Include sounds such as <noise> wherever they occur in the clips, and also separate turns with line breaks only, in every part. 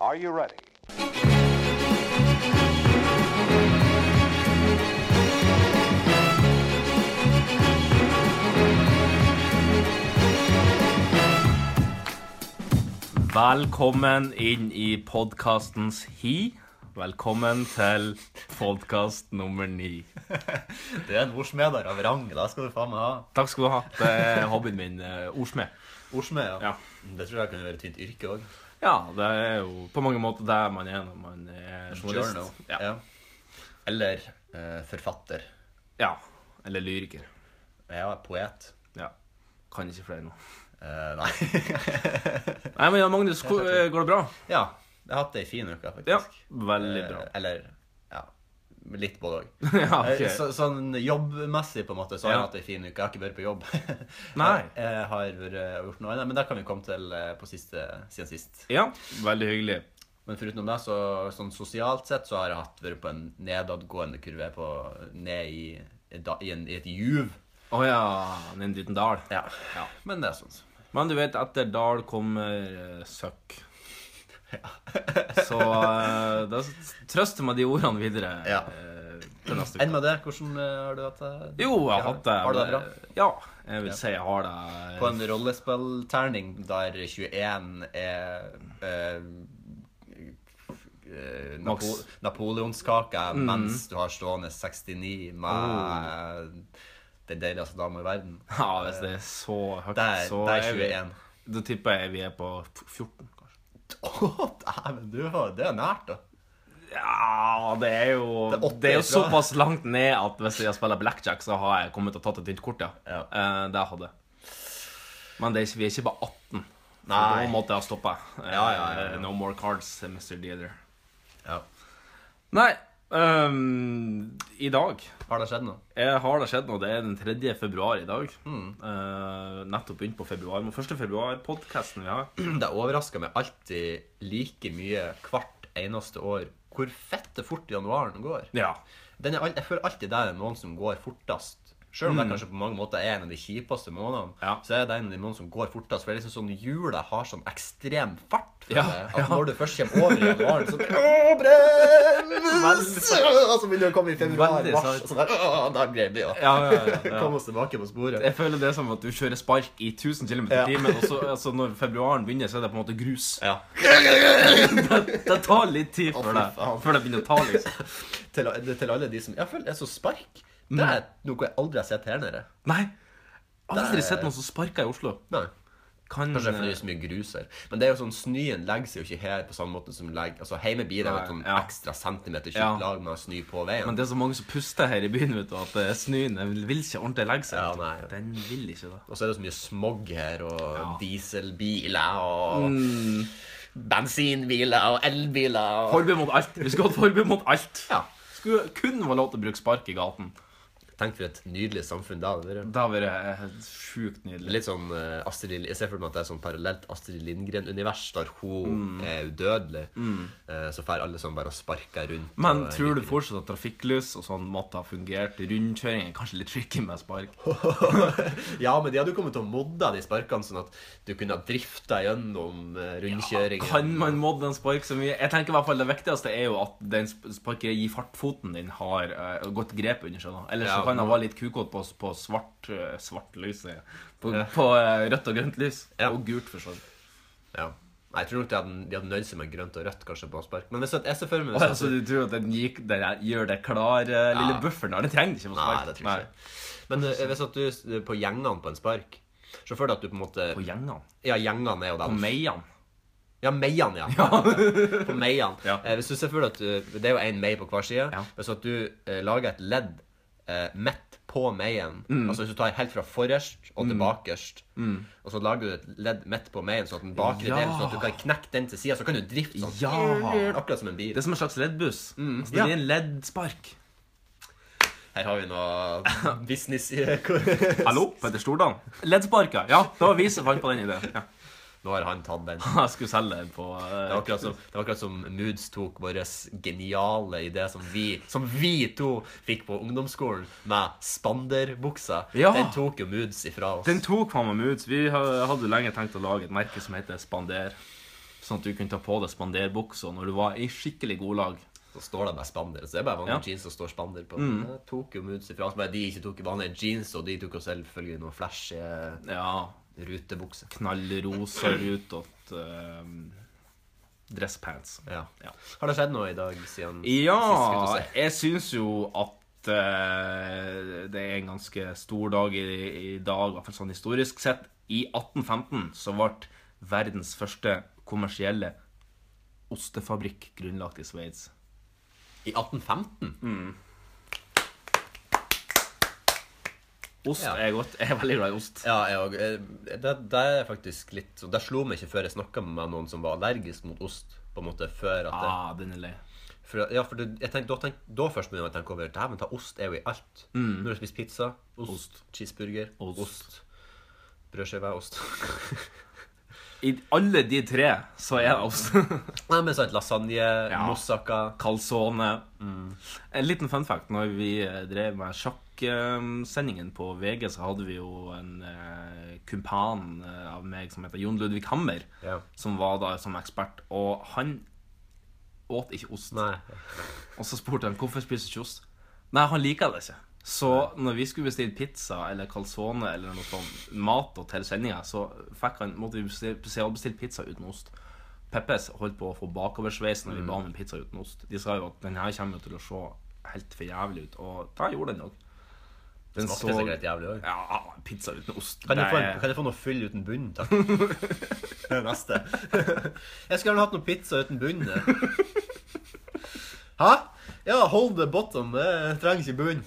Are you ready?
Velkommen inn i podkastens hi. Velkommen til podkast nummer ni.
Du er en ordsmeder av rang, da skal du faen meg ha.
Takk skal du ha. Det er hobbyen min. eh, Ordsmed.
Ordsmed, ja.
Ja.
Det tror jeg kunne være et fint yrke òg.
ja, det er jo på mange måter det man er når man er journalist. Ja.
Ja. Eller eh, forfatter.
ja. Eller lyriker.
Ja, poet.
Ja. Kan ikke flere nå.
Eh, nei.
Nei, men Jan Magnus, hvor, eh, går det bra?
<laughs> ja. Jeg har hatt ei en fin uke, faktisk.
Ja, veldig bra.
Eh, eller ja, litt både òg.
<laughs> Ja, ok.
Eh, Så, sånn jobbmessig, på en måte, så har
Ja.
jeg hatt ei en fin uke. Jeg har ikke vært på jobb. <laughs>
Nei.
Jeg, jeg har vært- gjort noe annet, men det kan vi komme til eh, på siste, siden sist.
Ja, veldig hyggelig.
Men foruten det, så sånn sosialt sett, så har jeg hatt vært på en nedadgående kurve på, ned i, da, i, en, i et juv.
Å ja, en liten dal.
Ja. Men det er sånn.
Men du vet, etter dal kommer eh, søkk.
<laughs>
<laughs> Så eh, da s- trøster med de ordene videre
Ja.
eh, til neste uke.
Enn med det, hvordan eh, har du hatt det?
Jo, jeg har hatt det.
Har du det bra?
Ja, jeg vil si jeg har det
På en rollespillterning der 21 er eh,
Maks.
eh, Napo napoleonskake, mens du har stående 69 med eh, den deiligste dama i verden. <laughs>
Ja, hvis det er så høyt,
Der,
så
der
er vi
21.
Da tipper jeg vi er på 14, kanskje.
Å, dæven, du har Det er nært, da.
Ja, det er jo
Det er åtte
Det er jo
ifra.
såpass langt ned at hvis jeg spiller blackjack, så har jeg kommet og tatt et nytt kort, ja.
Ja.
Eh, det hadde jeg. Men det er ikke, vi er ikke på 18. Nei.
Nei.
Da måtte jeg ha stoppa.
Ja, ja, ja, ja.
No more cards, Mr. Dealer.
Ja.
Nei, ehm, i dag
Har det skjedd noe?
Jeg har det skjedd nå. Det er den 3. februar i dag.
Mm.
Eh, nettopp begynt på februar. Men 1. februar-podkasten vi har.
Det overrasker meg alltid like mye hvert eneste år hvor fette fort januaren går.
Ja.
Den er, al- jeg føler alltid det er noen som går fortest. Selv om det kanskje på mange måter er en av de kjipeste månedene,
Mm. Ja.
så er det en av de månedene som går fortest. For det er liksom sånn jula har sånn ekstrem fart. føler
Ja,
jeg.
ja.
At når du først kommer over i januaren,
<laughs>
så bare, Åh, brems! Og så begynner du å komme i februar,
Veldig
mars, og så der, Åh, der greier vi å
Ja, ja, ja, ja.
komme oss tilbake på sporet.
Jeg føler det er som at du kjører spark i 1000 km i
Ja.
timen, og så altså, når februaren begynner, så er det på en måte grus. <laughs>
Ja.
Det tar litt tid før det,
fy faen.
før det begynner å ta, liksom.
Til, til alle de som Jeg føler jeg er så spark. Det er
Mm.
noe jeg aldri har sett her nede.
Nei. Aldri
Det-
sett noen som sparker i Oslo.
Nei.
Kan
Kanskje fordi det er så mye grus her. Men det er jo sånn, snøen legger seg jo ikke her på samme måte som legger Altså, Hjemme blir det jo et
Nei,
sånn
ja.
ekstra centimeter
Ja.
tjukt lag med snø på veien.
Men det er så mange som puster her i byen, vet du, at eh, snøen den vil ikke ordentlig legge seg.
Ja, nei.
Den vil ikke det.
Og så er det så mye smog her, og
Ja. Mm.
dieselbiler og bensinbiler og elbiler og
Forbud mot alt. Vi skulle hatt forbud mot alt.
Ja.
Skulle kun være lov til å bruke spark i gaten.
Tenk for et nydelig samfunn da. Det er
Det hadde vært helt sjukt nydelig.
Litt sånn eh, Astrid Lind- Jeg ser for meg at det er sånn parallelt Astrid Lindgren-univers, der hun
Mm.
er udødelig. Eh, så får alle sånn bare og sparker rundt.
Men
og,
tror du fortsatt at trafikklys og sånn måtte ha fungert? Rundkjøring er kanskje litt tricky med spark.
Ja, men de hadde jo kommet til å modde de sparkene, sånn at du kunne ha drifta gjennom eh, rundkjøringen.
Kan man modde en spark så mye? Jeg tenker i hvert fall Det viktigste er jo at den sp- sparkeren i fartfoten din har eh, godt grep under seg. da. Ellers
Ja,
så kan
nå-
han være litt kukåt på, på svart, eh, svart lys. sier jeg. På, på eh, rødt og grønt lys.
Ja.
Og gult, for så vidt.
Ja. Nei, jeg tror nok de hadde, de hadde nøyd seg med grønt og rødt kanskje på spark. Men hvis at jeg ser for meg
Og altså, du tror at den, gikk, den her- gjør det klar, eh, lille
Ja.
bufferen der? Den trenger ikke å få
Nei,
spark.
det tror jeg ikke. Men eh, hvis at du s- på gjengene på en spark Se for deg at du på en måte
På gjengene.
Ja, gjengene er jo
På
den
meiene.
Ja, meiene, ja. <laughs> På meiene.
Ja.
Eh, hvis du ser for deg at du, Det er jo én mei på hver side.
Ja.
Hvis at du eh, lager et ledd eh, midt på meien
Mm.
Altså hvis du tar helt fra forrest og til bakerst, og så lager du et ledd midt på meien, sånn at den bakre
Ja.
delen, sånn at du kan knekke den til sida, så kan du drifte sånn.
Ja.
Akkurat som en bil.
Det er som en slags leddbuss. Altså, det
Mm. Ja.
blir en leddspark.
Her har vi noe <laughs> business i
<laughs>
Nå
Hallo, Petter Stordalen. Leddsparker. Ja, det var vi som fant på den ideen. Ja.
har han tatt den. Det
Jeg skulle selge den på eh,
var akkurat som, det var akkurat som Moods tok vår geniale idé som vi, som vi to fikk på ungdomsskolen, med spanderbuksa.
Ja.
Den tok jo Moods ifra oss.
Den tok faen meg meg ut. så Vi ha- hadde jo lenge tenkt å lage et merke som heter Spander. Sånn at du kunne ta på deg spanderbuksa når du var i skikkelig godlag.
Så står det bare spander. Så det er bare vanlige
Ja. Mm.
jeans som står spander på. Det tok jo Moods i Frankrike, bare de ikke tok vanlige jeans, og de tok jo selvfølgelig noen flashy eh,
Ja,
rutebukser.
knallrosa rutåt uh, dresspants.
Ja.
Ja.
Har det skjedd noe i dag siden
Ja,
sist?
jeg syns jo at eh, det er en ganske stor dag i, i dag, i hvert fall sånn historisk sett. I 1815 så ble verdens første kommersielle ostefabrikk grunnlagt i Sveits.
I 1815?
Ost
Ja.
er godt. Jeg er veldig glad i ost.
Ja, jeg òg. Eh, Det, det er faktisk litt så Det slo meg ikke før jeg snakka med noen som var allergisk mot ost. På en måte før at det,
Ah, den er lei.
for, Ja, for det, jeg tenkte, da, tenk, da først begynner jeg å tenke over Dæven ta, ost er jo i alt. Når du spiser pizza, Mm. ost, cheeseburger,
Ost.
ost, brødskive, ost. <laughs>
I alle de tre så er det altså ost.
Nei, men sant, lasagne, moussaka
Calzone. En liten fun fact. Når vi eh, drev med sjakksendingen på VG, så hadde vi jo en eh, kumpan eh, av meg som heter Jon Ludvig Hammer,
Ja.
som var da som ekspert. Og han åt ikke ost.
Nei.
Og så spurte han hvorfor spiser du ikke ost. Nei, han liker det ikke. Så når vi skulle bestille pizza eller calzone eller noe sånt mat og til sendinga, så fikk han, måtte vi bestille, bestille pizza uten ost. Peppes holdt på å få bakoversveis når vi
Mm.
ba om en pizza uten ost. De sa jo at den her kommer jo til å se helt for jævlig ut, og det gjorde den òg. Den
Smakte sikkert jævlig òg.
Ja, pizza uten ost.
Kan, jeg få en-
det er-
kan jeg få noe fyll uten bunn, takk? <laughs> Det er Neste. <laughs> Jeg skulle gjerne hatt noe pizza uten bunn. jeg. Hæ? Ja, hold the bottom. Det trenger ikke bunn.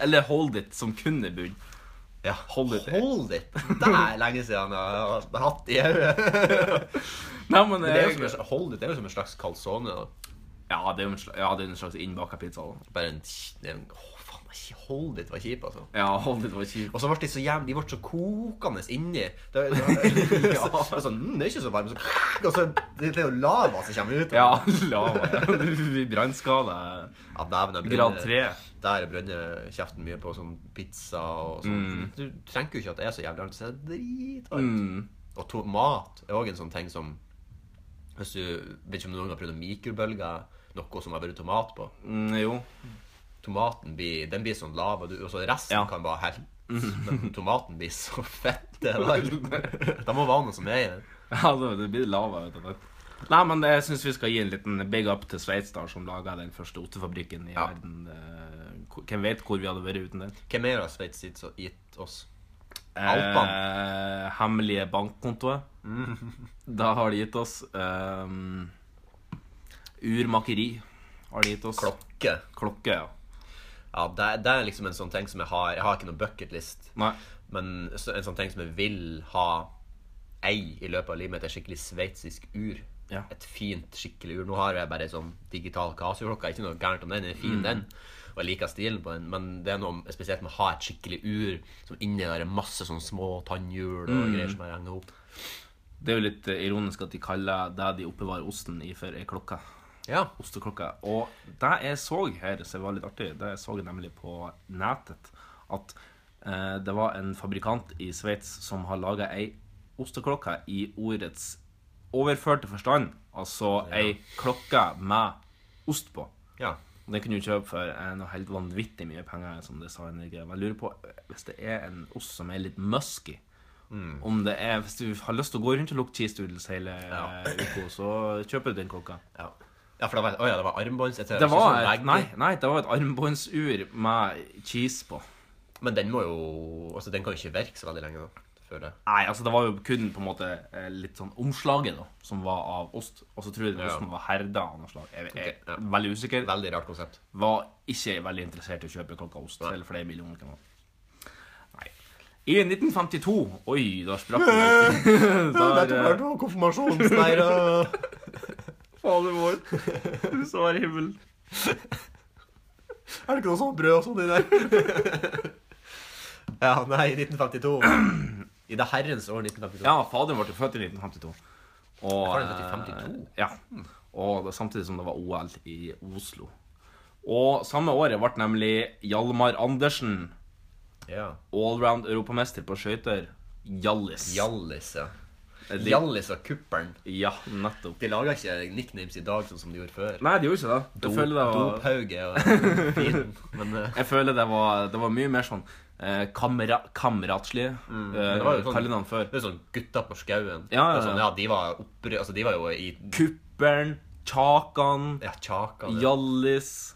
Eller hold it, som kun er bunn.
Ja,
Hold it.
Hold it. Det er lenge siden jeg har hatt det i hodet.
Nei, men
Det er jo
jeg-
som en- Hold it er jo som en slags calzone. da.
Ja, det er jo en slags, ja, det er en slags innbaka pizza. da.
Bare en, en Å, faen, ikke hold it var kjip, altså.
Ja, hold it var kjipt.
Og så ble de så jævlig, de ble så kokende inni.
<laughs>
Det, det,
Ja.
så, det, er sånn, mm, det er ikke så varmt. Så, og så det, det er jo lava som kommer ut.
Ja, <laughs> lava. Vi brannskada
Ja, dæven, jeg
grad 3.
brenner- Der brenner kjeften mye på sånn pizza og sånn. Du trenger jo ikke at det er så jævlig varmt. så er Det dritvarmt.
Mm.
Og to, mat er òg en sånn ting som Hvis du vet ikke om du noen gang har prøvd å mikrobølge noe som har vært tomat på.
Mm, jo.
Tomaten blir, den blir sånn lava, du- og så resten
Ja.
kan være helt. Men tomaten blir så fett.
<laughs>
Det der. Det må være noe som er i den.
Ja, Altså, det, det blir lava. Vet du. Nei, men jeg syns vi skal gi en liten big up til Sveits, da, som laga den første ostefabrikken i
Ja.
verden. Eh, hvor- Hvem vet hvor vi hadde vært uten den?
Hvem er det Sveits gitt så- gitt oss?
Eh, hemmelige
<laughs>
bankkontoet. Da har de gitt oss ehm, Urmakeri har de gitt oss.
Klokke.
Klokke, ja.
Ja, det, det er liksom en sånn ting som jeg har. Jeg har ikke noen bucketlist.
Nei.
Men så- en sånn ting som jeg vil ha ei i løpet av livet mitt, er skikkelig sveitsisk ur.
Ja.
Et fint, skikkelig ur. Nå har jeg bare ei sånn digital Casio-klokke. Ikke noe gærent om den, den er
Mm.
fin, den. Og jeg liker stilen på den, men det er noe spesielt med å ha et skikkelig ur som inneholder masse sånn små tannhjul og
Mm.
greier som jeg henger opp.
Det er jo litt eh, ironisk at de kaller det de oppbevarer osten i, for ei klokke.
Ja.
osteklokka. Og det jeg så her, som var litt artig, det jeg så jeg nemlig på nettet, at eh, det var en fabrikant i Sveits som har laga ei osteklokke i ordets overførte forstand. Altså ei klokke med ost på.
ja.
Og Den kunne du kjøpe for eh, noe helt vanvittig mye penger. som det sa i Norge. Men jeg lurer på, eh, hvis det er en ost som er litt musky om det er, Hvis du har lyst til å gå rundt og lukte cheese doodles hele eh, uka, så kjøper du den klokka.
ja. Ja, for det var, oh ja, det var armbånds. jeg tror
Det
ikke
var
sånn
et,
legg-
nei, nei, det var et armbåndsur med cheese på.
Men den må jo Altså, den kan jo ikke virke så veldig lenge, da. Før det.
Nei, altså det var jo kun på en måte eh, litt sånn omslaget da, som var av ost. Og så tror jeg den
Ja.
osten var herda av noe slag. Jeg, jeg,
Ok, ja.
Veldig usikker.
Veldig rart konsept.
Var ikke veldig interessert i å kjøpe klokka ost. Selv for det er millioner kroner. Nei. I 1952 Oi, da
<laughs>
sprakk den. <laughs> Der, eh,
jo konfirmasjonsleir <laughs> og
Fader vår.
<laughs>
Du svar himmel.
Er det ikke noe sånn brød og sånn i der? <laughs> ja, nei, 1952. I det herrens år 1952.
Ja, faderen ble jo født i 1952. Og,
Var han født i 52?
eh, Ja. Og det, samtidig som det var OL i Oslo. Og samme året ble nemlig Hjalmar Andersen
Ja.
allround europamester på skøyter. Hjallis.
Hjallis, ja.
Det-
Hjallis og Kuppelen.
Ja, nettopp.
De lager ikke nicknames i dag sånn som de gjorde før.
Nei, det gjorde ikke det. Jeg føler det var,
Dophauge og fin. Men eh,
jeg føler det var, det var mye mer sånn eh, kamera, kameratslig mm,
det var jo sånn-
kallenavn før.
det er sånn gutta på skauen.
Ja, ja,
Det er sånn,
ja.
ja de, var oppry altså, de var jo i
Kuppern, Kjakan,
ja, Tjaka. det-
Hjallis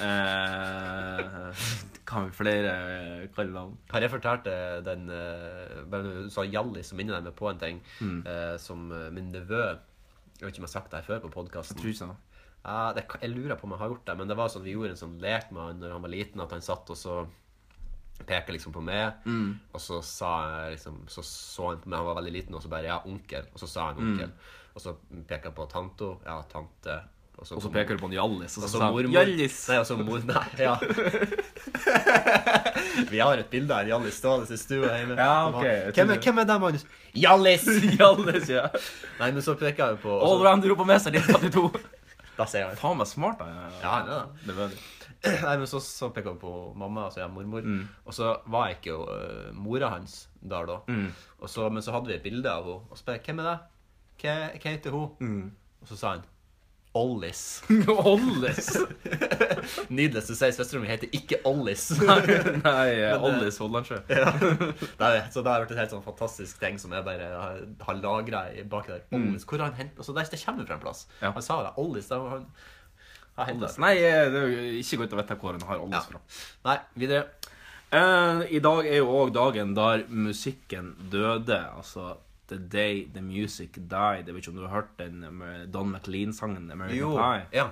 eh, Kan vi flere eh, kallenavn?
Har jeg fortalt eh, den eh, Bare når du sa Hjallis, så minner jeg meg på en ting. eh, som eh, min nevø Jeg vet ikke om jeg har sagt det her før på podkasten.
Tror ikke det.
Ja, det, jeg lurer på om jeg har gjort det, men det var sånn vi gjorde en sånn lek med han når han var liten, at han satt og så peka liksom på meg,
Mm.
og så sa jeg liksom Så så han på meg, han var veldig liten, og så bare 'ja, onkel', og så sa
Mm.
han 'onkel', og så peka på tanto, 'ja, tante', og så,
Og så peker du på en Hjallis, og så
og så
sa
Altså, mormor
han Hjallis! <laughs>
Nei, og så mor Nei, ja. Vi har et bilde av en Hjallis stående i stua hjemme.
Ja, ok, jeg
hvem,
trodde-
er, hvem er det, Magnus? Hjallis!
Hjallis, <laughs> ja.
Nei, men så peka jeg på og så-
Allround europamester 1982.
Da ser jeg han.
Faen meg smart, da.
Ja, det er det.
Det <laughs> var det.
Nei, men så, så pekte hun på mamma, altså jeg er mormor.
Mm.
Og så var jeg ikke jo eh, mora hans der da.
Mm.
Og så, men så hadde vi et bilde av henne. Og så spurte jeg hvem er det? Hva, hva heter hun?
Mm.
Og så sa han Ollis.
<laughs> Ollis!
<laughs> Nydeligst å si. Søstera mi heter ikke
<laughs>
Ollis.
Nei, eh,
Men, eh,
Ollis Hollandsjø.
<laughs> Ja. Det er, det. så det har vært et helt sånn fantastisk ting som jeg bare har, har lagra baki der. Ollis, hvor har han hentet Altså, det, det kommer fra en plass.
Mm. Ja.
Han sa det. Ollis, det var han. har hentet det.
Nei, eh, det er jo ikke godt å vite hvor en har
Ja.
Ollis fra.
Nei, videre.
Eh, I dag er jo òg dagen der musikken døde. Altså The Day The Music Died. Jeg vet ikke om du har hørt den med Don McLean-sangen American Pie?
Ja.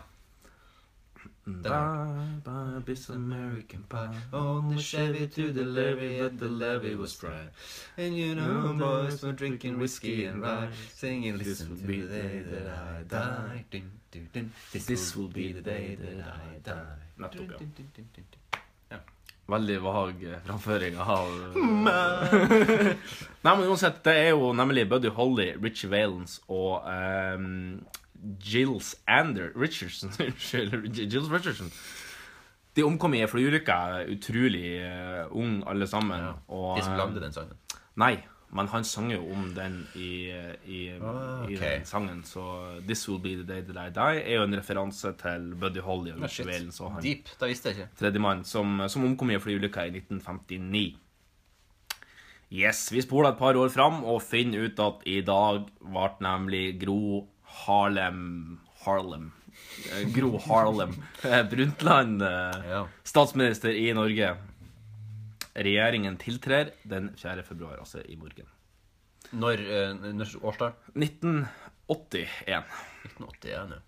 Bye, bye, this American Pie.
On the Chevy to the levee, at the levee was dry. And you know, boys were drinking whiskey and rye, singing, Listen to the day that I die. Dun, dun, dun. This, will be the day that I die.
Nettopp, ja.
Dun, dun, dun, dun, dun.
Veldig vag eh, framføring av eh, <laughs> Nei, men uansett, det er jo nemlig Buddy Holly, Richie Valens og ehm, Gilles Ander Richardson <laughs> Unnskyld, Gilles Richardson. De omkom i ei flyulykke. Utrolig uh, ung, alle sammen. Og,
De som
eh,
lagde den sangen.
Nei, men han sang jo om den i, i,
Ah,
i
ok.
den sangen. Så 'This Will Be The Day That I Die' er jo en referanse til Buddy Holly og Richie Valens og han
Deep. Det visste jeg ikke.
tredjemann som, som omkom i en flyulykke i 1959. Yes, vi spoler et par år fram og finner ut at i dag ble nemlig Gro Harlem Harlem eh, Gro Harlem eh, Brundtland eh,
Ja.
statsminister i Norge. Regjeringen tiltrer den 4. februar, altså i morgen.
Når, eh, når årstall?
1981.
1981. ja.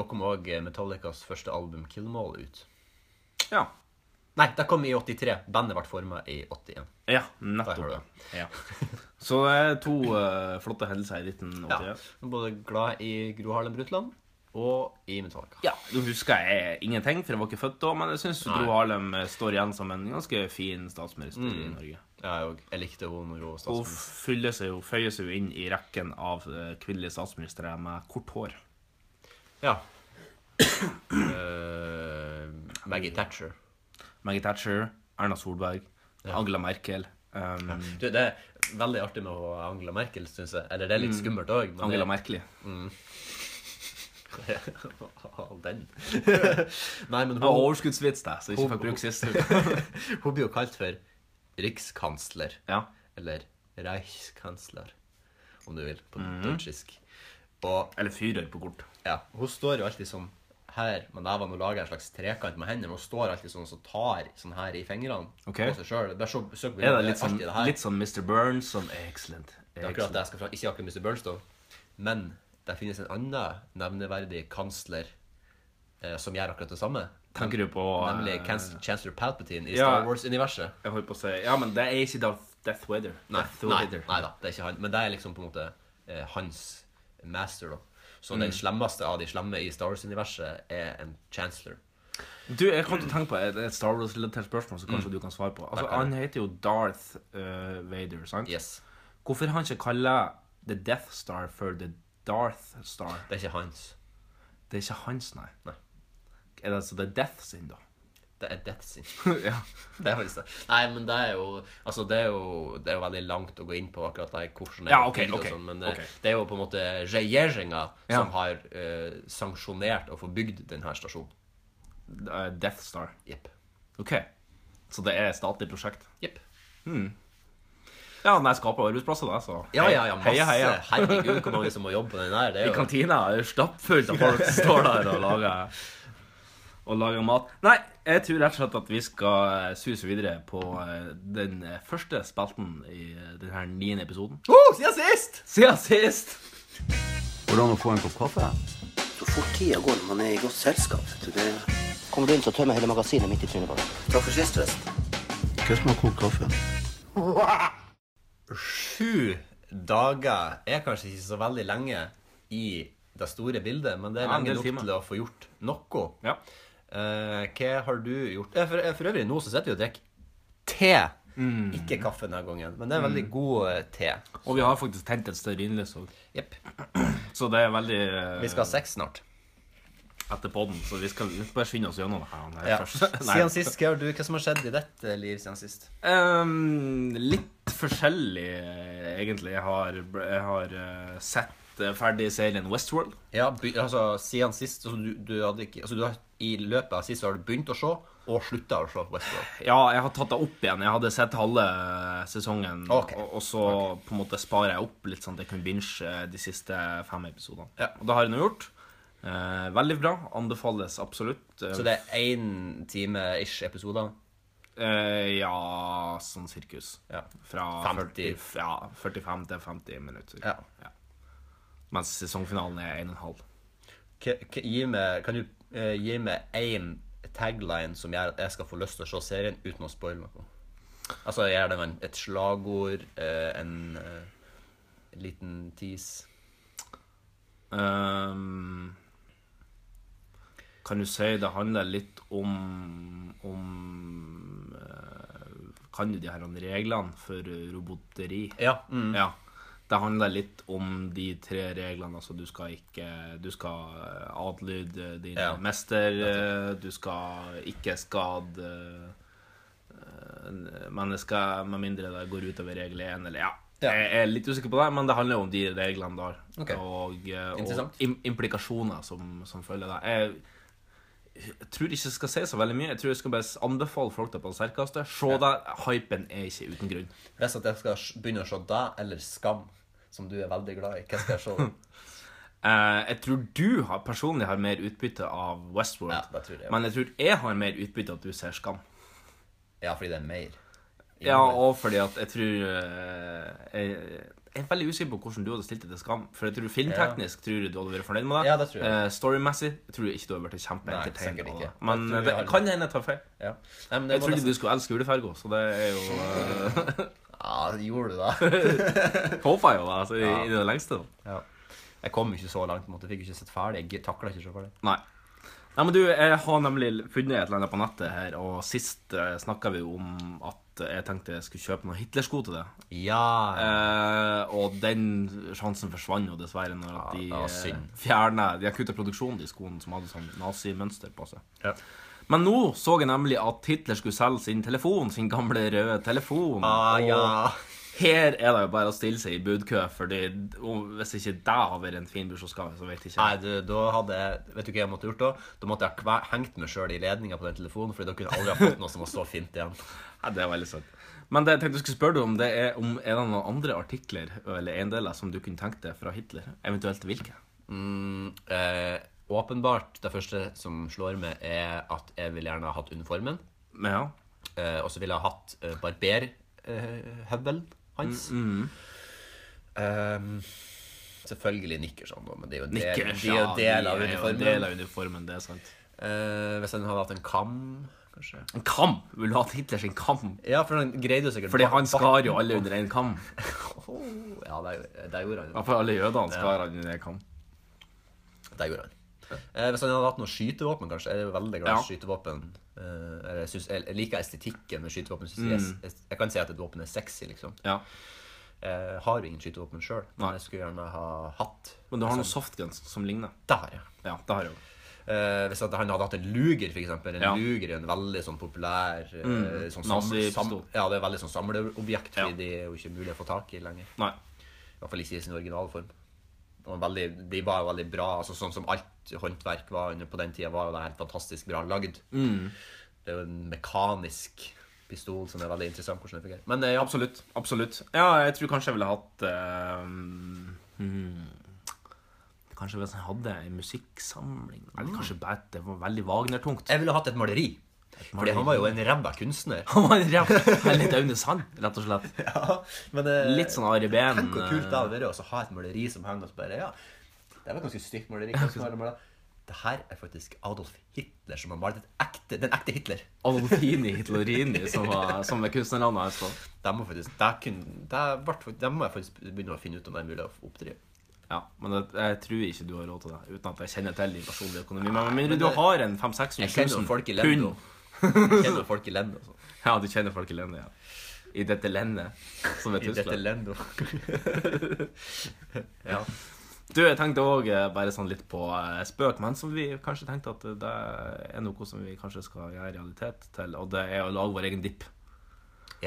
Da kom òg Metallicas første album, 'Killmall', ut.
Ja.
Nei, det kom i 83. Bandet ble forma i 81.
Ja,
Der har du
nettopp.
det.
Ja. Så det er to eh, flotte hendelser i 1981.
Ja. Jeg er Både glad i Gro Harlem Brundtland og i Metallica.
Ja, Nå husker jeg ingenting, for jeg var ikke født da, men jeg syns Gro
Nei.
Harlem eh, står igjen som en ganske fin statsminister i Norge.
Jeg, òg. jeg likte henne når hun var
Mm. Hun
statsminister.
fyller seg jo, føyer seg jo inn i rekken av eh, kvinnelige statsministre med kort hår.
Ja. Eh, Maggie Thatcher.
Maggie Thatcher, Erna Solberg, Angela Merkel um,
Du, det er veldig artig med hun Angela Merkel, syns jeg. Eller det er litt skummelt òg.
Mm. Angela
<laughs>
Merkel. <laughs>
Den. Nei, men
Det var
hun,
overskuddsvits, det, så jeg ikke fikk bruke sist. <laughs> uke.
hun blir jo kalt for rikskansler.
Ja.
Eller reichskansler, om du vil, på
Mhm.
deutschisk. Og
Eller fyrer på kort.
Ja, hun står jo alltid sånn her med nevene og lager en slags trekant med hendene. men Hun står alltid sånn og så tar sånn her i fingrene
Ok.
på seg sjøl. Bare så, søk på
Er det
bildet,
litt sånn,
alltid det her.
litt sånn Mr. Burns som excellent?
Det er akkurat det jeg skal fra. Ikke akkurat Mr. Burns, da. Men det finnes en annen nevneverdig kansler eh, som gjør akkurat det samme.
Tenker du på eh,
Nemlig Kans- Chancellor Palpatine i
ja.
Star Wars-universet.
Jeg holdt på å si Ja, men det er ikke Darth Death Weather.
Nei,
Death
nei,
Weather.
nei da, det er ikke han. Men det er liksom på en måte eh, hans master, da. Så den
Mm.
slemmeste av de slemme i Star Wars-universet er en chancellor.
Du, jeg kom til å tenke på et, et Star Wars-relatert spørsmål som kanskje du kan svare på. Altså,
Takk,
Han heter jo Darth eh, Vader, sant?
Yes.
Hvorfor han ikke kaller The Death Star for The Darth Star?
Det er ikke hans.
Det er ikke hans, nei.
Nei.
Er det altså The Death sin, da?
Det er death sin.
<laughs> ja.
<laughs> Det er faktisk det. Nei, men det er jo Altså, det er jo Det er jo veldig langt å gå inn på akkurat det hvordan det
Ja,
er
ok,
bygd og
ok,
sånn, men eh,
ok.
det er jo på en måte regjeringa
Ja.
som har eh, sanksjonert å få bygd denne stasjonen.
Eh, Death Star.
Jepp.
OK. Så det er et statlig prosjekt.
Jepp.
Ja, den skaper arbeidsplasser, da, så
Ja, ja, ja, masse.
heia, heia.
Herregud, hvor mange som må jobbe på den der. Det er
I
jo
kantina er det stappfullt av folk som står der og lager, og lager mat. Nei, jeg tror rett og slett at vi skal eh, suse videre på eh, den eh, første spalten i eh, denne niende episoden.
oh, Siden sist!
Siden sist!
Hvordan å få en kopp kaffe?
Så fort tida går når man er i godt selskap. vet du, Det... Kommer du inn, så tømmer hele magasinet midt i trynet på deg. Takk for sist, forresten.
Hva som har kokt kaffe?
Sju dager er kanskje ikke så veldig lenge i det store bildet, men det er
Ja, en
lenge
del
nok
timer.
til å få gjort noe.
Ja.
Eh, hva har du gjort? Eh, for, eh, for øvrig, nå så sitter vi og drikker te. Ikke kaffe denne gangen, men det er veldig god eh, te.
Og vi har faktisk tent et større innlys òg.
Jepp.
Så det er veldig eh,
Vi skal ha sex snart.
etter podden, så vi skal bare skynde oss gjennom det her. Nei,
<laughs> Ja.
først. Nei.
Siden sist, hva har du? Hva som har skjedd i ditt eh, liv siden sist?
Ehm, litt forskjellig, eh, egentlig. Jeg har, jeg har eh, sett eh, ferdig serien Westworld.
Ja, by, altså, siden sist altså, du, du hadde ikke, altså, du har, I løpet av sist så har du begynt å se, og slutta å se Westworld.
Ja, jeg har tatt det opp igjen. Jeg hadde sett halve sesongen.
Ok.
Og, og så på en måte sparer jeg opp litt sånn at jeg kunne binge eh, de siste fem episodene.
Ja.
Og det har jeg nå gjort. Eh, veldig bra. Anbefales absolutt. Eh,
Så det er én time ish episoder.
eh, ja, sånn sirkus.
Ja.
Fra
50.
40, ja, 45 til 50 minutter.
Ja.
Mens sesongfinalen er 1,5.
K k gi meg, kan du eh, gi meg én tagline som gjør at jeg skal få lyst til å se serien uten å spoile noe? Altså gjør det en, et slagord, eh, en eh, liten tease
Ehm, kan du si det handler litt om om eh, Kan du de her reglene for eh, roboteri?
Ja. Mm.
Ja. Det handler litt om de tre reglene. Altså, du skal ikke Du skal adlyde din
Ja.
mester. eh, Du skal ikke skade eh, mennesker med mindre det går utover regel 1 eller ja.
Ja.
Jeg er litt usikker på det, men det handler jo om de reglene der.
Ok.
Og, eh,
Interessant.
og im implikasjoner som, som følger det. Jeg, jeg tror ikke jeg skal si så veldig mye. Jeg tror jeg skal bare s- anbefale folk det på det sterkeste. Se det. Hypen er ikke uten grunn.
Hvis at jeg skal s- begynne å se deg eller Skam, som du er veldig glad i, hva skal jeg
<laughs>
se?
Eh, jeg tror du har, personlig har mer utbytte av Westworld.
Ja, det tror jeg også.
Men jeg tror jeg har mer utbytte av at du ser Skam.
ja, fordi det er mer.
Ja, og fordi at jeg tror eh, jeg, jeg er veldig usikker på hvordan du hadde stilt deg til Skam. For jeg tror filmteknisk tror jeg du hadde vært fornøyd med det.
Ja, det tror jeg.
Eh, Storymessig jeg tror jeg ikke du hadde vært
sikkert
kjempeentertained av
ikke.
det. Men
Jeg tror jeg
det
har-
kan hende jeg tar feil.
Ja. Nei, men det
Jeg
var
trodde
nesten...
du skulle elske julefarger, så det er jo <laughs> eh,
Ja, gjorde du
<laughs>
det?
Håper jeg jo det, altså, i, i det lengste. da.
ja. Jeg kom ikke så langt, på en måte. Jeg fikk ikke sett ferdig. Jeg takla ikke så ferdig.
Nei. Nei, men du, jeg har nemlig funnet et eller annet på nettet her, og sist uh, snakka vi jo om at jeg tenkte jeg skulle kjøpe noen Hitler-sko til deg.
Ja.
Eh, og den sjansen forsvant jo dessverre når at de
det var synd.
eh, fjernet De har kutta produksjonen, de skoene som hadde sånn nazimønster på seg.
ja.
Men nå så jeg nemlig at Hitler skulle selge sin telefon, sin gamle røde telefon.
Ah,
og
ja.
her er det jo bare å stille seg i budkø, Fordi om- hvis ikke det har vært en fin bursdagsgave, så vet jeg ikke.
Nei, du, da hadde jeg Vet du hva jeg måtte gjort da? Da måtte jeg ha kve- hengt meg sjøl i ledninga på den telefonen, fordi da kunne jeg aldri ha fått noe som var så fint igjen.
<laughs> Ja, det er veldig sant. Men det jeg tenkte jeg skulle spørre deg om, det er om er det noen andre artikler eller eiendeler som du kunne tenkt deg fra Hitler? Eventuelt hvilke?
Mm, eh, åpenbart, det første som slår meg, er at jeg vil gjerne ha hatt uniformen.
Men ja.
Eh, og så ville jeg ha hatt eh, barberhøvelen hans.
Mm,
Eh, selvfølgelig Nikkerson, da, men det er jo en del,
Nikkers,
det er jo en del av
de er jo en del
uniformen.
av uniformen, det er sant.
Eh, hvis han hadde hatt en kam, kanskje
En kam! Vil du ha Hitler sin kam?
Ja, for han greide jo sikkert
Fordi
bak-
han
bak-
skar jo alle under én kam.
Ja, det, det gjorde han.
Ja, for alle jødene skar han under én kam.
Det gjorde han. Eh, hvis han hadde hatt noe skytevåpen, kanskje. Jeg er veldig glad i
Ja.
skytevåpen. Eh, eller jeg, synes, jeg, jeg liker estetikken med skytevåpen. Synes
Mm.
jeg, jeg, jeg kan si at et våpen er sexy, liksom.
Ja.
Jeg har jo ingen skytevåpen sjøl,
Nei.
men jeg skulle gjerne ha hatt
Men du har noen softguns som ligner.
Der, ja.
Ja, det har jeg jo.
Eh, hvis at han hadde hatt en luger, for eksempel. En
Ja.
luger er en veldig sånn populær eh, sånn
Nazi-
Ja, det er veldig sånn samleobjekt, fordi
Ja.
de er jo ikke mulig å få tak i lenger.
Nei.
I hvert fall ikke i sin originale form. Og en veldig, de var jo veldig bra. altså Sånn som alt håndverk var under på den tida, var jo det helt fantastisk bra lagd. Det er jo en mekanisk pistol som er veldig interessant hvordan det fungerer. Men eh,
Absolutt. Absolutt. Ja, jeg tror kanskje jeg ville hatt eh, hmm, Kanskje hvis jeg hadde en musikksamling Eller kanskje bare at det var veldig Wagner-tungt.
jeg ville hatt et maleri. Fordi han var jo en ræva kunstner.
Han var en ræv- en litt Aune Sand, rett og slett.
<laughs> Ja, men eh,
Litt sånn Ari Behn.
Tenk hvor kult det hadde vært å ha et maleri som henger og så bare Ja, det var et ganske stygt <laughs> maleri. Hva skal jeg male? Det her er faktisk Adolf Hitler som har malt et ekte, den ekte Hitler.
Alfini Hitlerini, som, var, som er kunstnernavnet hans. da.
Det må, faktisk, det, kunne, det, ble, det må jeg faktisk begynne å finne ut om det er mulig å oppdrive.
Ja, men jeg, jeg tror ikke du har råd til det, uten at jeg kjenner til din personlige økonomi. Men med mindre du har en 500
Jeg kjenner
000
jo folk i
pund.
Lendo. Jeg kjenner jo folk i Lendo. altså. Så.
Ja, du kjenner folk i Lendo, ja. I dette lendet, som er
I dette
Tyskland.
Lendo. <laughs> ja.
Du, jeg tenkte òg bare sånn litt på eh, spøk, men som vi kanskje tenkte at eh, det er noe som vi kanskje skal gjøre realitet til, og det er å lage vår egen dipp.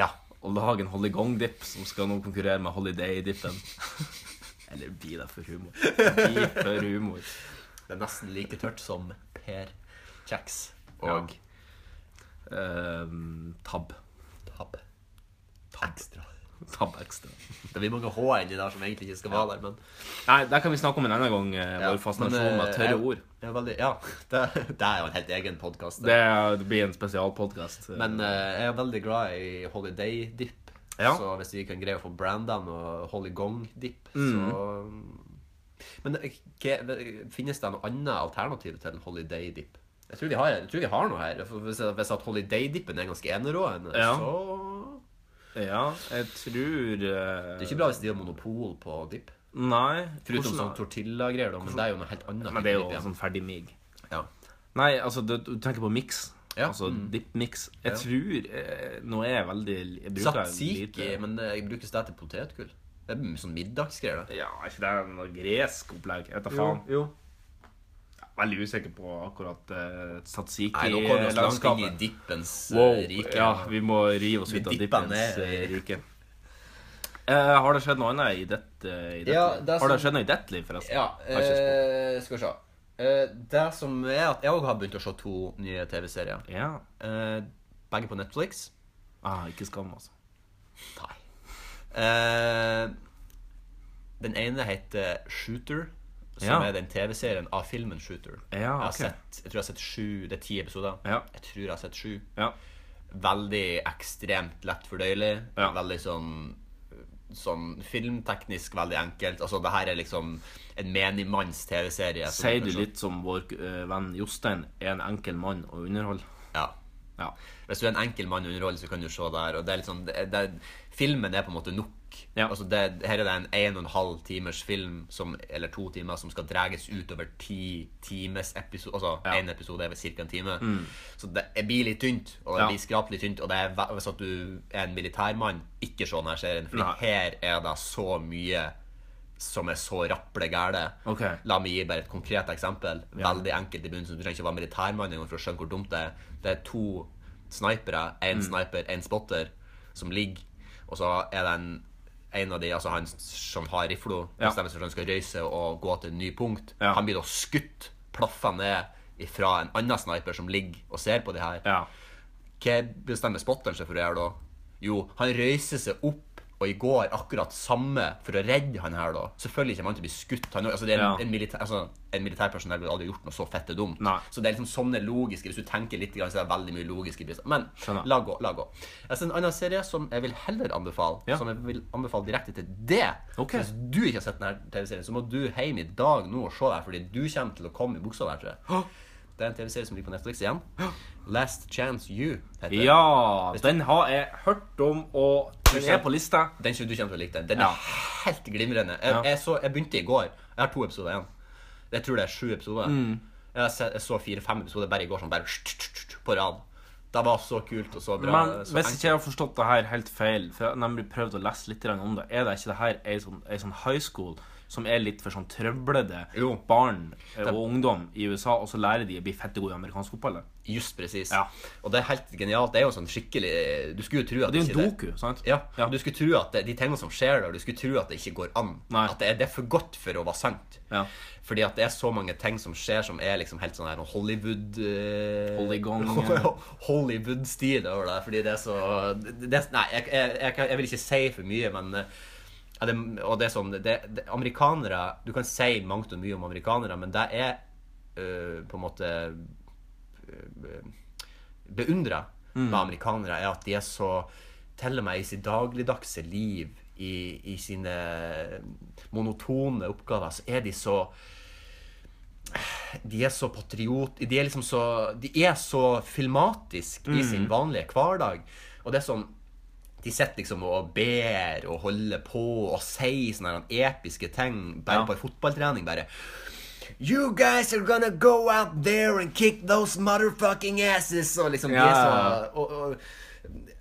ja.
Å lage en Hollygong-dipp som skal nå konkurrere med Holiday-dippen. Eller blir det for humor? Blir for humor.
Det er nesten like tørt som Per Kjeks og
Ehm, tab.
Tab. Ekstra.
Tab ekstra.
Det blir mange H-er inni der som egentlig ikke skal være der, men
Nei, det kan vi snakke om en annen gang, eh, vår fascinasjon
men,
med
eh,
tørre
jeg-
ord.
jeg er veldig, ja, <laughs> det, det er jo en helt egen podkast.
Det blir en spesialpodkast.
Men eh, jeg er veldig glad i Holiday Dip.
Ja.
Så hvis vi kan greie å få branda noe Holy Gong Dip, så
Mm.
Men eh, hva- finnes det noe annet alternativ til Holiday Dip? Jeg tror vi har, jeg tror vi har noe her. For Hvis, hvis at Holiday Dippen er ganske enerående,
Ja.
så
Ja, jeg tror eh,
Det er ikke bra hvis de har monopol på dip.
Nei.
Foruten
hvordan-
sånn tortilla-greier, da, men det er jo noe helt annet.
Men det er
type
jo
dip,
sånn ferdig mig.
ja. Ja.
Nei, altså, du, du tenker på mix.
Ja,
Altså dip-mix. Jeg
Ja.
tror eh, Nå er jeg veldig Jeg bruker
Satsiki,
lite-
men eh, jeg brukes det til potetgull? Det er sånn middagsgreier, det.
Ja, er ikke det noe gresk opplegg? Jeg vet da faen. Veldig usikker på akkurat uh,
Nei, nå kommer vi oss langt inn i
satsiki-landskapet.
dippens eh,
Wow,
rike.
ja, vi må rive oss
Vi
ut av
dipper
dippens
ned.
eh, rike. Eh, har det skjedd noe annet i ditt eh, i ditt
Ja,
liv?
det er
Har det
sånn-
skjedd noe i ditt liv, forresten?
Ja,
Har ikke spurt.
eh, skal vi se. Eh, det som er at jeg òg har begynt å se to nye TV-serier.
ja.
Eh, begge på Netflix.
Ah, ikke skam, altså.
Nei. Eh, den ene heter Shooter, som
Ja.
er den TV-serien av filmen Shooter.
Ja,
jeg, har
ok.
sett, jeg tror jeg har sett sju Det er ti episoder.
Ja.
Jeg tror jeg har sett sju.
Ja.
Veldig ekstremt lett fordøyelig.
Ja.
Veldig sånn Sånn filmteknisk veldig enkelt. Altså, det her er liksom en menigmanns TV-serie. som
Sier
kan
du
se-
litt som vår eh, venn Jostein er en enkel mann å underholde?
Ja.
Ja.
Hvis du er en enkel mann under rolle, så kan du se der. Og det er litt sånn, det, er- det, er- filmen er på en måte nok.
Ja.
Altså det, her er det en en og en halv timers film, som, eller to timer, som skal dreges ut over ti times episode. Altså
Ja. Mm.
en episode er ca. en time. Så det det blir litt tynt, og det
Ja.
blir skrapelig tynt. Og det er, ve- hvis at du er en militærmann, ikke se denne serien, for
Nei.
her er det så mye som er så rapple gæle.
Ok.
La meg gi bare et konkret eksempel. Veldig enkelt i begynnelsen. Du trenger ikke være militærmann engang for å skjønne hvor dumt det er. Det er to snipere,
Mm.
én sniper, én spotter, som ligger, og så er det en, en av de, altså han som har rifla,
Ja.
bestemmer seg for at han skal røyse og gå til en ny punkt.
Ja.
Han blir da skutt, plaffa ned ifra en annen sniper som ligger og ser på de her.
Ja.
Hva bestemmer spotteren seg for å gjøre da? Jo, han røyser seg opp og i går akkurat samme for å redde han her, da. Selvfølgelig kommer han til å bli skutt. Han, altså, det er
Ja.
en, en, militær, altså, en militærpersonell ville aldri gjort noe så fette dumt.
Nei.
Så det er liksom sånne logiske Hvis du tenker litt, grann, så er det veldig mye logiske brister. Men
Skjønner.
la gå. la gå Jeg ser en annen serie som jeg vil heller anbefale,
Ja.
som jeg vil anbefale direkte til det.
Ok.
Så Hvis du ikke har sett denne TV-serien, så må du hjem i dag nå og se det her, fordi du kommer til å komme i buksa der, tror jeg. Det er en TV-serie som ligger på Netflix igjen. Last Chance You heter den.
ja, den har jeg hørt om, og den er på lista.
Den synes du kommer til å like den. Den
Ja.
er helt glimrende. Jeg,
Ja.
jeg, så, jeg begynte i går. Jeg har to episoder igjen. Jeg tror det er sju episoder.
Mm.
Jeg, har sett- jeg så fire-fem episoder bare i går sånn bare på rad. Det var så kult og så bra.
Men
så
hvis
enkelt.
ikke jeg har forstått det her helt feil, for jeg har nemlig prøvd å lese litt grann om det, er det ikke det her ei sånn, ei sånn high school som er litt for sånn trøblete
Jo.
barn eh, og ungdom i USA, og så lærer de å bli fette gode i amerikansk fotball.
Just presis.
Ja.
Og det er helt genialt. Det er jo sånn skikkelig Du skulle jo tro at
Det er jo
ikke
en doku, sant?
Ja, Du skulle tro at det, de tingene som skjer der, du skulle tro at det ikke går an.
Nei.
At det er, det er for godt for å være sant.
Ja.
Fordi at det er så mange ting som skjer som er liksom helt sånn her Hollywood eh,
Polygon,
<laughs> Hollywood-stil over det. Fordi det er så det, det, Nei, jeg, jeg, jeg, kan- jeg vil ikke si for mye, men eh, ja, det, Og det er sånn det, det, Amerikanere Du kan si mangt og mye om amerikanere, men det er eh, på en måte beundrer med amerikanere, er at de er så Til og med i sitt dagligdagse liv, i, i sine monotone oppgaver, så er de så de er så patriot De er liksom så De er så filmatisk i
Mm.
sin vanlige hverdag. Og det er sånn De sitter liksom og ber og holder på og sier sånne her episke ting bare
Ja.
på en fotballtrening. bare You guys are gonna go out there and kick those motherfucking asses! Og liksom, de
Ja,
er
ja,
så og, og,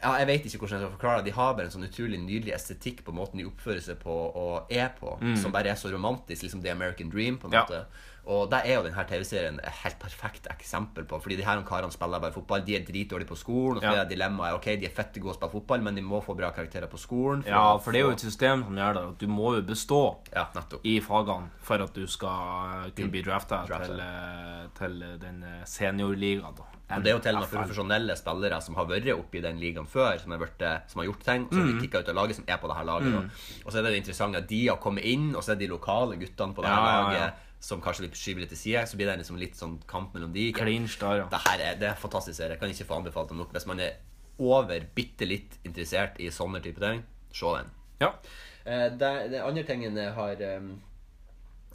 ja, Jeg vet ikke hvordan jeg skal forklare det. De har bare en sånn utrolig nydelig estetikk på måten de oppfører seg på og er på, som bare er så romantisk. Liksom The American Dream, på en
Mm. Ja.
måte. Og der er jo denne TV-serien et helt perfekt eksempel på. Fordi de her karene spiller bare fotball. De er dritdårlige på skolen. Og så
Ja.
er dilemmaet ok, de er fette gode til å spille fotball, men de må få bra karakterer på skolen.
Ja,
å
for det er jo
få-
et system som gjør det at du må jo bestå
Ja, nettopp.
i fagene for at du skal eh, kunne bli drafta
Mm. Draftet.
til, eh, til den eh, seniorligaen. da.
Og det er jo til og med
NFL.
profesjonelle spillere som har vært oppe i den ligaen før, som har, vært, eh, som har gjort ting, som
Mm.
har blitt kicka ut av laget, som er på det her laget. da. Og så er det det interessante at de har kommet inn, og så er de lokale guttene på det her
Ja, ja,
laget
ja.
som kanskje blir skyvet litt til side. Så blir det liksom litt sånn kamp mellom de.
Clinch der, ja.
Det her er, det er fantastisk serie. Jeg kan ikke få anbefalt den nok. Hvis man er over bitte litt interessert i sånne type ting, se den.
Ja.
Eh, Det, det andre tingen jeg har em,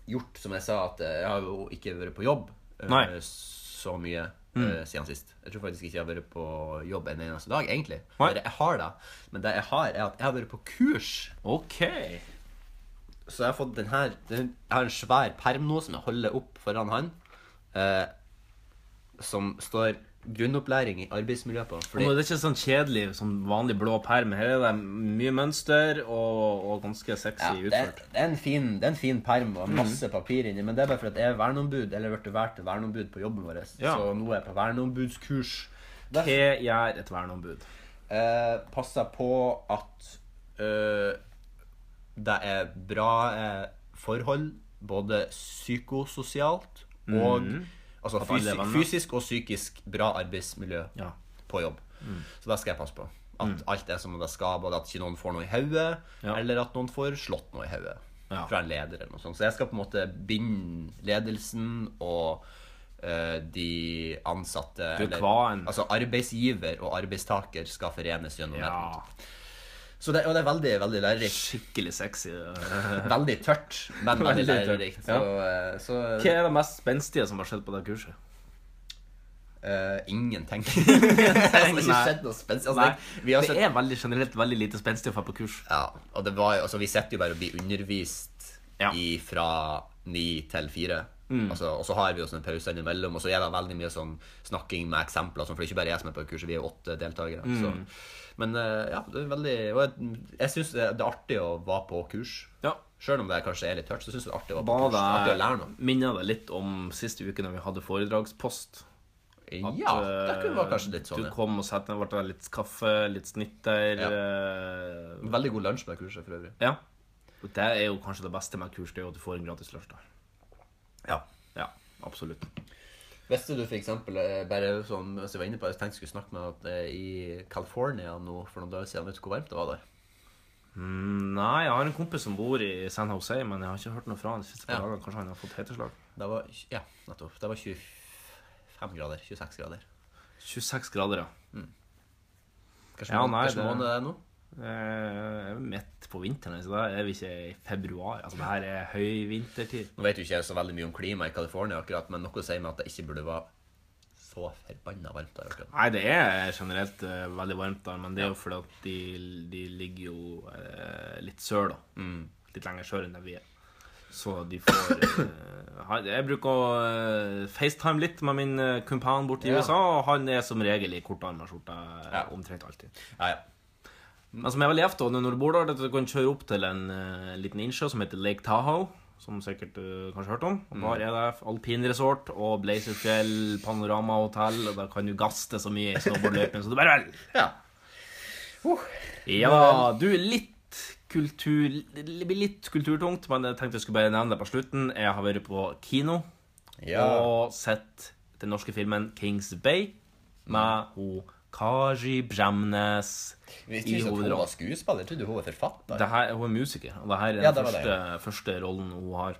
gjort, som jeg sa, at eh, jeg har jo ikke vært på jobb eh,
Nei. Mm.
så mye eh, siden sist. Jeg tror faktisk ikke jeg har vært på jobb en eneste dag, egentlig.
Nei.
Bare jeg har det. Men det jeg har, er at jeg har vært på kurs.
OK.
Så jeg har fått den her den, Jeg har en svær perm nå som jeg holder opp foran han, eh, som står 'Grunnopplæring i arbeidsmiljø' på.
Og
Fordi
nå, det er ikke sånn kjedelig som vanlig blå perm. Her er det mye mønster og, og ganske sexy
Ja, det,
utført.
er- det, er en fin, det er en fin perm og masse papir inni, men det er bare fordi jeg er verneombud, eller ble valgt til verneombud på jobben vår.
Ja.
Så nå er jeg på verneombudskurs.
Hva
Der
gjør et verneombud?
eh, passer på at eh, det er bra eh, forhold, både psykososialt og Altså
Mhm. alle er
fysisk,
venner.
fysisk og psykisk bra arbeidsmiljø
Ja. Mm.
på jobb. Så det skal jeg passe på. At alt er som det skal, både at ikke noen får noe i hodet,
Ja.
eller at noen får slått noe i hodet
Ja.
fra en leder eller noe sånt. Så jeg skal på en måte binde ledelsen og eh, de ansatte
Du er kvaen.
Altså arbeidsgiver og arbeidstaker skal forenes gjennom det. på
ja.
en måte. Så det, og det er veldig, veldig lærerikt.
Skikkelig sexy.
Veldig tørt, men
<laughs> Veldig
veldig
tørt,
lærerikt. Så,
ja.
eh, så
Hva er det mest spenstige som har skjedd på det kurset?
eh, ingenting.
<laughs>
det har
Nei.
ikke skjedd noe spesielt.
Nei,
Altså, vi
det
har sett
er veldig generelt veldig lite spenstig å dra på kurs.
Ja, og det var jo, altså vi sitter jo bare og blir undervist
Ja. Mm.
i fra ni til fire. Altså, og så har vi jo sånne pauser innimellom, og så er det veldig mye sånn snakking med eksempler. og Sånn, for det er ikke bare jeg som er på kurset, vi er jo åtte deltakere.
Mm.
Så. Men eh, ja, det er veldig Og jeg, jeg syns det det er artig å være på kurs.
Ja.
Sjøl om det kanskje er litt tørt, så syns jeg det er artig å være på
Var
kurs. Det er Artig å lære
det
noe.
Minner det litt om siste uke når vi hadde foredragspost? At,
ja, det kunne være
eh,
kanskje litt sånn.
Du
ja.
kom og satte ned, ble det litt kaffe, litt snitter eh,
Veldig god lunsj på det kurset, for øvrig.
Ja. Og det er jo kanskje det beste med kurs, det er jo at du får en gratis lunsj der.
Ja.
Ja, absolutt.
Visste du for eksempel, eh, bare sånn, mens jeg var inne på, det, jeg tenkte jeg skulle snakke med at eh, i California nå for noen dager siden, vet du hvor varmt det var der?
Mm, Nei, jeg har en kompis som bor i San Jose, men jeg har ikke hørt noe fra han de siste par
Ja.
dagene. Kanskje han har fått heteslag.
Det var, ja, nettopp. Det var 25 grader, 26 grader.
26 grader, ja.
Kanskje
Ja,
måned-
nei,
kanskje
det-
måned det er nå?
Eh, Midt på vinteren, så da er vi ikke i februar. Altså, det her er høyvintertid.
Nå vet jo ikke jeg så veldig mye om klima i California akkurat, men noe sier meg at det ikke burde være så forbannet varmt der akkurat.
Nei, det er generelt eh, veldig varmt der, men det er jo fordi at de, de ligger jo eh, litt sør, da. Litt lenger sør enn der vi er. Så de får
<laughs>
eh, ha- Jeg bruker å eh, FaceTime litt med min eh, kumpan borte i
Ja.
USA, og han er som regel i kortarma skjorte eh,
Ja.
omtrent alltid.
Ja, ja.
Men som jeg var levd av, når du bor der, at du kan kjøre opp til en eh, liten innsjø som heter Lake Tahoe, som sikkert du kanskje har hørt om. Og Der er det alpinresort og Blazerfjell, panoramahotell, og da kan du gaste så mye i snowboardløypen som du bare vil.
Ja.
Ja, du litt kultur Det blir litt kulturtungt, men jeg tenkte jeg skulle bare nevne det på slutten. Jeg har vært på kino og sett den norske filmen Kings Bay med ho Kaji Bremnes
Hvis du
i
ikke hun
hovedrollen.
var skuespiller, trodde hun var forfatter.
Det her, hun er musiker, og det her er den
Ja, det var det,
første, første rollen hun har.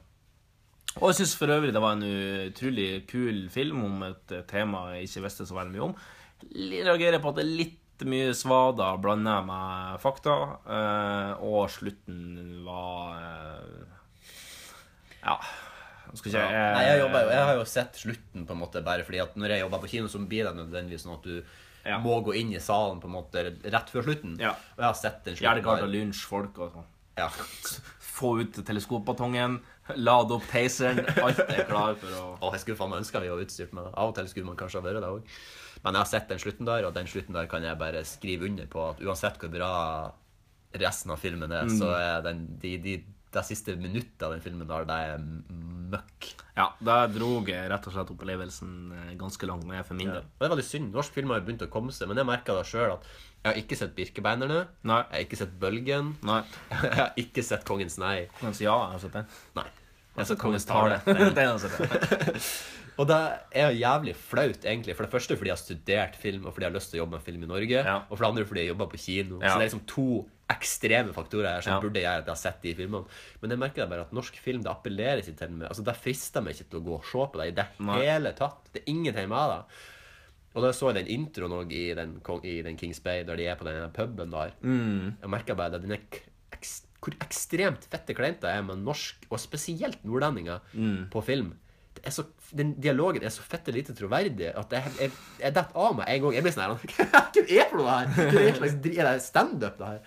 Og jeg syns for øvrig det var en utrolig kul film om et eh, tema jeg ikke visste så veldig mye om. Jeg reagerer på at det er litt mye svada blanda med fakta, eh, og slutten var eh, Ja. Jeg skal ikke eh,
Nei, jeg, jobber, jo- jeg har jo sett slutten på en måte bare fordi at når jeg jobber på kino, så blir det nødvendigvis sånn at du
Ja.
må gå inn i salen på en måte rett før slutten.
Ja.
Og jeg har sett den slutten.
Gjerdegarda
der.
Lynch-folk og sånn.
Ja.
Få ut teleskopbatongen, lade opp taseren, alt er klar for å
Og jeg skulle faen meg ønske vi var utstyrt med det. Av og til skulle man kanskje ha vært det òg. Men jeg har sett den slutten der, og den slutten der kan jeg bare skrive under på at uansett hvor bra resten av filmen er, så
Mm.
er den de, de, de siste minuttene av den filmen der, det er møkk.
Ja, der dro jeg rett og slett opplevelsen eh, ganske langt ned for min del.
Og det er veldig synd. Norsk film har jo begynt å komme seg, men jeg merka da sjøl at jeg har ikke sett Birkebeiner nå.
Nei.
Jeg har ikke sett Bølgen.
Nei.
<laughs> Jeg har ikke sett Kongens nei.
Mens ja, jeg har sett den.
Nei. Jeg har sett
Kongens
Kongens tale.
<laughs> Den har jeg sett.
Og altså det er jo jævlig flaut, egentlig. For det første fordi jeg har studert film, og fordi jeg har lyst til å jobbe med film i Norge.
Ja.
Og for det andre fordi jeg jobber på
Ja.
kino. Så det er liksom to ekstreme faktorer her som
Ja.
burde gjøre at jeg har sett de filmene. Men jeg merker bare at norsk film det appellerer ikke til meg. Altså, Det frister meg ikke til å gå og se på det i det
Nei.
hele tatt. Det er ingenting med det. Og da så jeg den introen òg i, den Kong- i den Kings Bay, der de er på den puben der.
Mm.
Jeg merka bare det, den er k- eks, hvor ekstremt fette kleint det er med norsk, og spesielt nordlendinger, på film. Det er så, den dialogen er så fette lite troverdig at jeg, jeg, jeg detter av meg en gang. Jeg blir sånn her <laughs> Hva er det for noe her? Hva er det slags dri- er det standup, det her?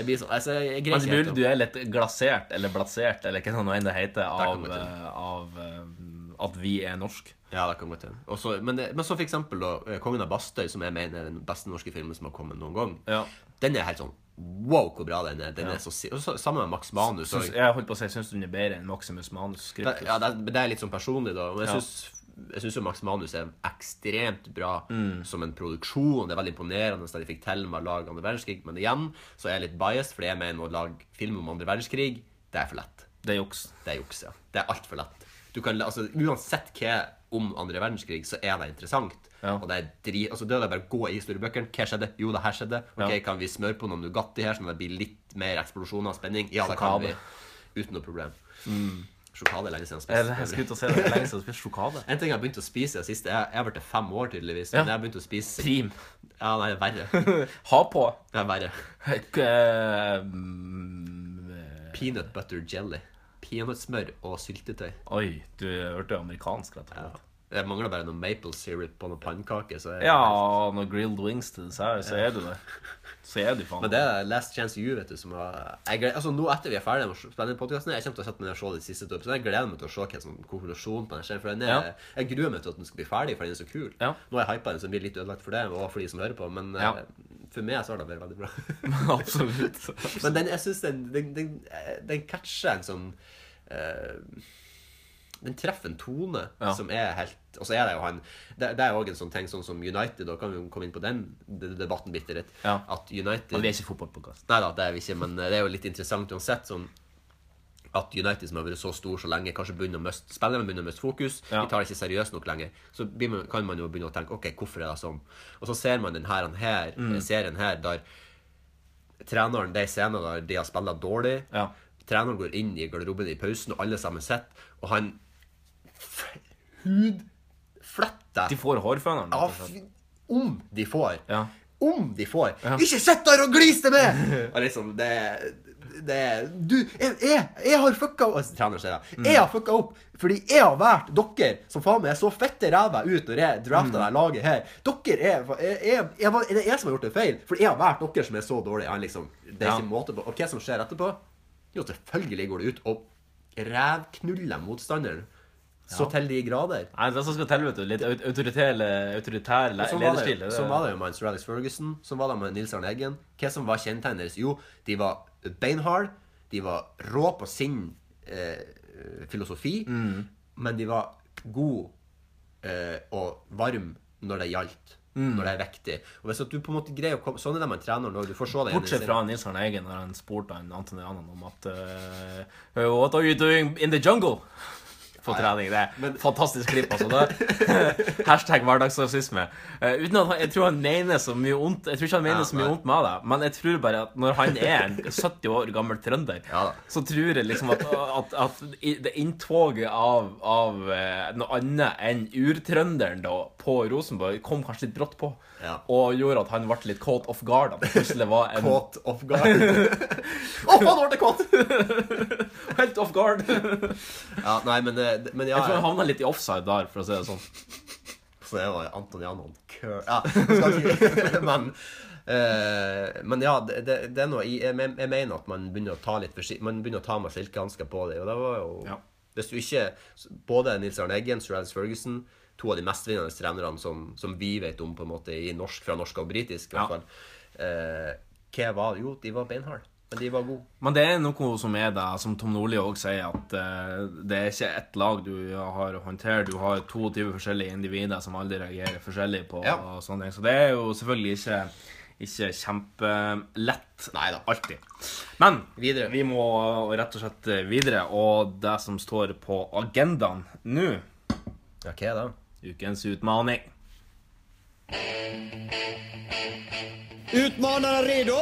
Jeg blir sånn altså, jeg greier
Men
ikke
Bull,
helt
du
å-
er litt glasert, eller blasert, eller hva sånn enn det heter, av,
kommer jeg til.
eh, av eh, at vi er norsk.
Ja, det kan godt hende. Og så- Men, det- men så for eksempel da, eh, 'Kongen av Bastøy', som jeg mener er den beste norske filmen som har kommet noen gang.
Ja.
Den er helt sånn Wow, hvor bra den er. Den er så, si- og så, Sammen med Max Manus.
Syns,
og-
jeg holdt på å si syns du den er bedre enn Maximus Manus
det,
skript.
ja, det, men det er litt sånn personlig, da. Men jeg
Ja.
syns- jeg syns jo Max Manus er ekstremt bra som en produksjon. Det er veldig imponerende at de fikk til med å lage andre verdenskrig. Men igjen så er jeg litt biased, fordi jeg mener å lage film om andre verdenskrig, det er for lett.
Det er juks.
Det er juks, ja. Det er altfor lett. Du kan, altså, uansett hva om andre verdenskrig, så er det interessant.
Ja.
Og det er dri, altså, det er bare å gå i historiebøkene. Hva skjedde? Jo, det her skjedde. Ok,
Ja.
Kan vi smøre på noen Nugatti her, sånn at det blir litt mer eksplosjoner og spenning? Ja, det kan vi.
Sjokade.
Uten noe problem. Sjokade er lenge siden
Jeg, Mm.
jeg
jeg
spiste.
skulle ut og se det lenge siden og spise sjokade.
<laughs> En ting jeg har begynt å spise i det siste Jeg jeg har vært til fem år, tydeligvis.
Ja.
Men jeg har begynt å spise
Prim. <laughs>
Ja, nei, verre.
Ha på
Det er verre.
eh, mm,
Peanut butter jelly. Peanøttsmør og syltetøy.
Oi, du hørte amerikansk, rett og slett.
Jeg mangler bare noe maple syrup og noen pannekaker. så jeg-
Ja, når grilled wings til dessert, så er du det. Så er du faen
Men det er Last Chance You, vet du, som har jeg gleder, Altså, nå etter vi er ferdige med å spille inn podcasten, jeg kommer til å sette meg ned og se de siste to episodene. Jeg gleder meg til å se hva som konklusjonen på den skjer, for den er,
Ja.
jeg gruer meg til at den skal bli ferdig, for den er så kul.
Ja.
Nå har jeg hypet den, så den blir litt ødelagt for det, og for de som hører på, men
Ja.
eh, for meg så har det vært veldig bra.
<laughs>
<laughs>
Absolutt.
Men den, jeg synes den, den, den, eh, den catcher en sånn eh, Den treffer en tone
Ja.
som er helt Og så er det jo han Det, det er jo også en sånn ting sånn som United, da kan vi jo komme inn på den de- debatten bitte litt.
Ja.
At United
Men vi er ikke fotballpodkast.
Nei da, det er vi ikke, men eh, det er jo litt interessant uansett. sånn at United, som har vært så stor så lenge, kanskje begynner å miste spillerne begynner å miste fokus.
Ja.
De tar det ikke seriøst nok lenger. Så blir man, kan man jo begynne å tenke OK, hvorfor er det sånn? Og så ser man den her, den her
Mm.
serien her, der treneren de scenene der de har spilt dårlig.
Ja.
Treneren går inn i garderoben i pausen, og alle sammen sitter, og han f- hudfletter
De får hårføneren.
ja,
rett og slett.
fy- om de får.
Sånn, Ja.
Om de får. Ikke sitt der og glis det med!
<laughs>
Og liksom, det det Du, jeg, jeg, jeg har fucka opp Trener sier det.
Mm.
Jeg har fucka opp fordi jeg har valgt dere som faen meg er så fette ræva ut når jeg
Mm.
drafta det laget her. Dere er jeg, jeg, jeg, var- Det er jeg som har gjort en feil, fordi jeg har valgt dere som er så dårlige. Han liksom, det er
Ja.
ikke måte på. Og hva som skjer etterpå? Jo, selvfølgelig går det ut og rævknuller motstanderen. Så til de grader.
Nei, det er det som skal til, vet du. Litt au- autoritær, autoritær le
Sånn var,
lederstil.
det, sånn var det jo med Sir Alex Ferguson, sånn var det med Nils Arne Eggen. Hva som var kjennetegnet deres? Jo, de var beinhard, de var rå på sin eh, filosofi, men de var gode eh, og varm når det gjaldt. Når det er viktig. Og hvis at du på en måte greier å komme Sånn er det med en trener nå. Du får se det igjen i
Bortsett
serien.
fra Nils Arne Eggen, når han spurte han Anthony Annan om at eh, What are you doing in the jungle? På trening. Det er
Men-
fantastisk klipp, altså.
<laughs>
Det. Hashtag hverdagsrasisme. Eh, uten at han, jeg tror han mener så mye ondt Jeg tror ikke han mener
Ja,
så mye
nei.
ondt med det, men jeg tror bare at når han er en 70 år gammel trønder,
Ja da.
så tror jeg liksom at, at, at i- det inntoget av, av eh, noe annet enn urtrønderen da på Rosenborg kom kanskje litt brått på,
Ja.
og gjorde at han ble litt caught off guard. At det plutselig var en <laughs>
Caught off <laughs> guard. Å, faen, nå ble det caught!
Helt off guard.
Ja, nei, men, eh, det- men ja,
Jeg tror han havna litt i offside der, for å si det sånn.
Så det var Anton Janon Kør Ja, jeg skal ikke <laughs> Men eh, men ja, det, det, det er noe jeg, jeg men- jeg mener at man begynner å ta litt forsi- Man begynner å ta med silkehansker på det, og det var jo
Ja.
Hvis du ikke Både Nils Arne Eggen, Sir Alex Ferguson, to av de mestvinnende trenerne som, som vi vet om, på en måte, i norsk, fra norsk og britisk, i
Ja.
hvert fall eh, Hva var det? Jo, de var beinharde, men de var gode.
Men det er noe som er det, som Tom Nordli òg sier, at eh, det er ikke ett lag du har å håndtere. Du har 22 forskjellige individer som alle reagerer forskjellig på
Ja.
og sånne ting. Så det er jo selvfølgelig ikke, ikke kjempelett.
Neida.
Alltid. Men
Videre.
vi må eh, rett og slett videre. Og det som står på agendaen nå,
Ja, hva da?
ukens utfordring.
Utmanaren redo.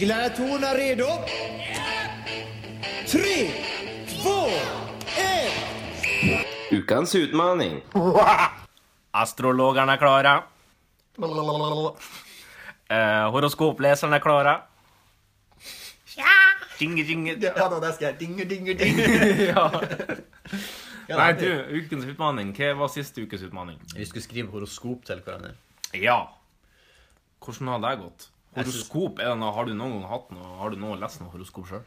Gladiatorerna redo. Tre, två, ett.
Ukens <laughs> utfordring. Astrologerne er klare. Eh, horoskopleserne er klare. Jinge, jinge.
Ja, da, det skal jeg dinge, dinge, dinge.
<laughs>
<laughs>
Ja.
Ja,
Nei,
det
du,
er
ukens utfordring. Hva var siste ukes utfordring?
Vi skulle skrive horoskop til hverandre.
Ja. Hvordan har det gått? Horoskop, er det noe, Har du noen gang hatt noe, har du noe lest noe horoskop sjøl?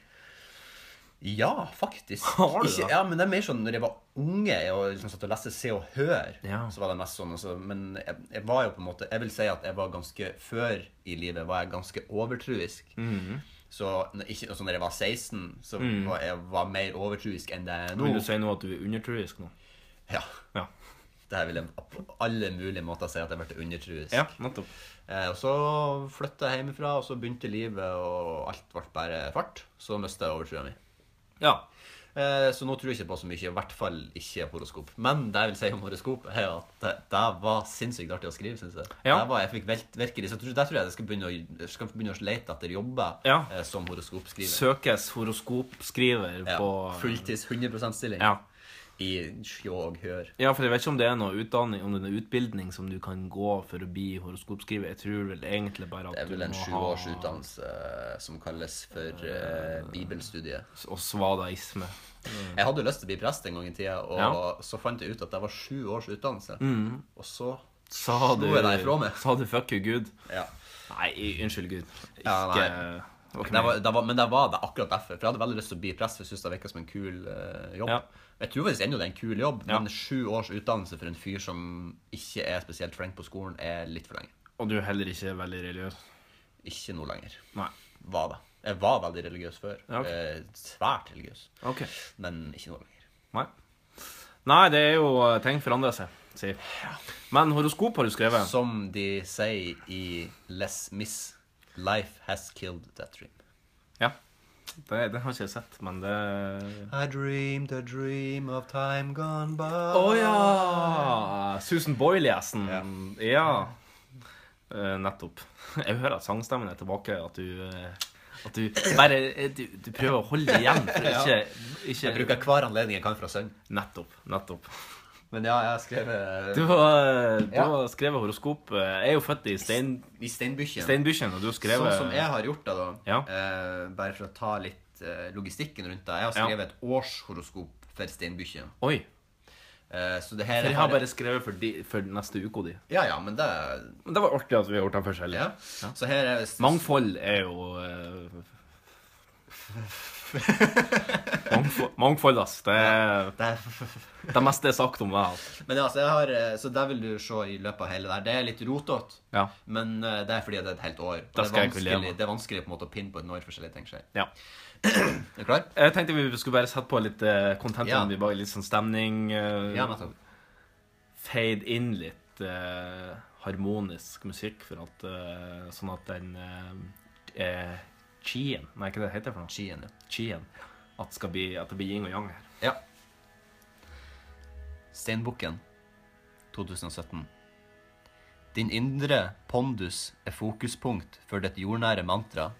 Ja, faktisk.
<laughs> Har du det?
Ikke, ja, men det er mer sånn når jeg var unge og liksom satt og leste Se og Hør,
Ja.
så var det mest sånn. Altså, men jeg, jeg var jo på en måte Jeg vil si at jeg var ganske Før i livet var jeg ganske overtruisk.
Mm.
Så når, ikke, altså, når jeg var 16, så var jeg var mer overtruisk enn det er nå.
Vil Mm. du si nå at du er undertruisk nå?
Ja.
Ja.
Det her vil jeg på alle mulige måter si at jeg ble undertruisk.
ja nettopp.
Eh, og så flytta jeg hjemmefra, og så begynte livet, og alt ble bare fart. Så mista jeg overtrua mi.
Ja.
Eh, Så nå tror jeg ikke på så mye, i hvert fall ikke horoskop. Men det jeg vil si om horoskop, er at det, det var sinnssykt artig å skrive, syns jeg.
Ja.
Det var, jeg fikk velt, virkelig, så jeg tror, Der tror jeg jeg skal begynne å, jeg skal begynne å lete etter jobber
Ja.
eh, som horoskopskriver.
Søkes horoskopskriver
Ja,
på
fulltids 100 %-stilling
Ja.
i Sjå og Hør.
Ja, for jeg vet ikke om det er noe utdanning, om det er noe utbildning som du kan gå for å bli horoskopskriver. Jeg tror vel egentlig bare
Det
at
er vel
du
en
må
sju
ha
års utdannelse eh, som kalles for eh, bibelstudiet.
Og svadaisme.
Jeg hadde jo lyst til å bli prest en gang i tida, og
Ja.
så fant jeg ut at det var sju års utdannelse. Og så
Sa du,
jeg deg ifra meg.
sa du fuck you, Gud?
Ja.
Nei, i- unnskyld, Gud. Ikke
Ja, nei.
det var ikke
Det var,
meg.
det var, men det var det akkurat derfor. For jeg hadde veldig lyst til å bli prest. For jeg synes det virka som en kul eh, jobb.
Ja.
Jeg tror faktisk ennå det er en kul jobb,
Ja.
men sju års utdannelse for en fyr som ikke er spesielt flink på skolen, er litt for lenge.
Og du er heller ikke veldig religiøs.
Ikke nå lenger.
Nei.
Var det. Jeg var veldig religiøs før.
Ja, ok.
eh, svært religiøs.
Ok.
Men ikke nå lenger.
Nei. Nei, det er jo eh, Ting forandrer seg, si. Men horoskop har du skrevet.
Som de sier i Les Miss Life has killed that dream.
Ja. Det, det har ikke jeg sett, men det
I dreamed a dream of time gone by.
Å ja! Susan Boyle-gjesten. Ja. Eh, nettopp. <laughs> Jeg hører at sangstemmen er tilbake. At du eh, At du bare eh, du, du prøver å holde igjen <laughs> for å ikke,
Jeg
ikke
bruker hver anledning jeg kan for å synge.
Nettopp. Nettopp.
Men ja, jeg har skrevet
Du har, eh, du
Ja.
har skrevet horoskop. eh, Jeg er jo født i stein,
I Steinbykken.
Steinbykken, og du har skrevet
Sånn som jeg har gjort det, da.
Ja.
eh, bare for å ta litt eh, logistikken rundt det. Jeg har
Ja.
skrevet et årshoroskop for Steinbykken.
Oi.
Eh, så det her
For jeg har bare skrevet for, de, for neste uke di.
Ja, ja, men det
Men det var artig at vi har gjort den forskjellig. <laughs>
ja. Så her er
Mangfold er jo eh, Mangfold, mangfold ass. Det er
<laughs> Det-
det meste er sagt om det. Altså.
Men altså, jeg har, eh, så det vil du se i løpet av hele der. Det er litt rotete,
Ja.
men eh, det er fordi det er et helt år. Og
Da
det,
skal
er
jeg ikke leve.
vanskelig- det er vanskelig på en måte å pinne på et når forskjellige ting skjer.
ja.
<clears throat> Er du klar?
Jeg tenkte vi skulle bare sette på litt eh, content,
Ja.
om vi bare litt sånn stemning. eh,
Ja, nettopp.
fade inn litt eh, harmonisk musikk, for at, eh, sånn at den eh, eh, Chien Nei, hva det heter det for noe?
Skien, ja.
Chien. At, skal bli, at det blir yin og yang her.
ja. Steinbukken, 2017. Din indre pondus er fokuspunkt for ditt jordnære mantra.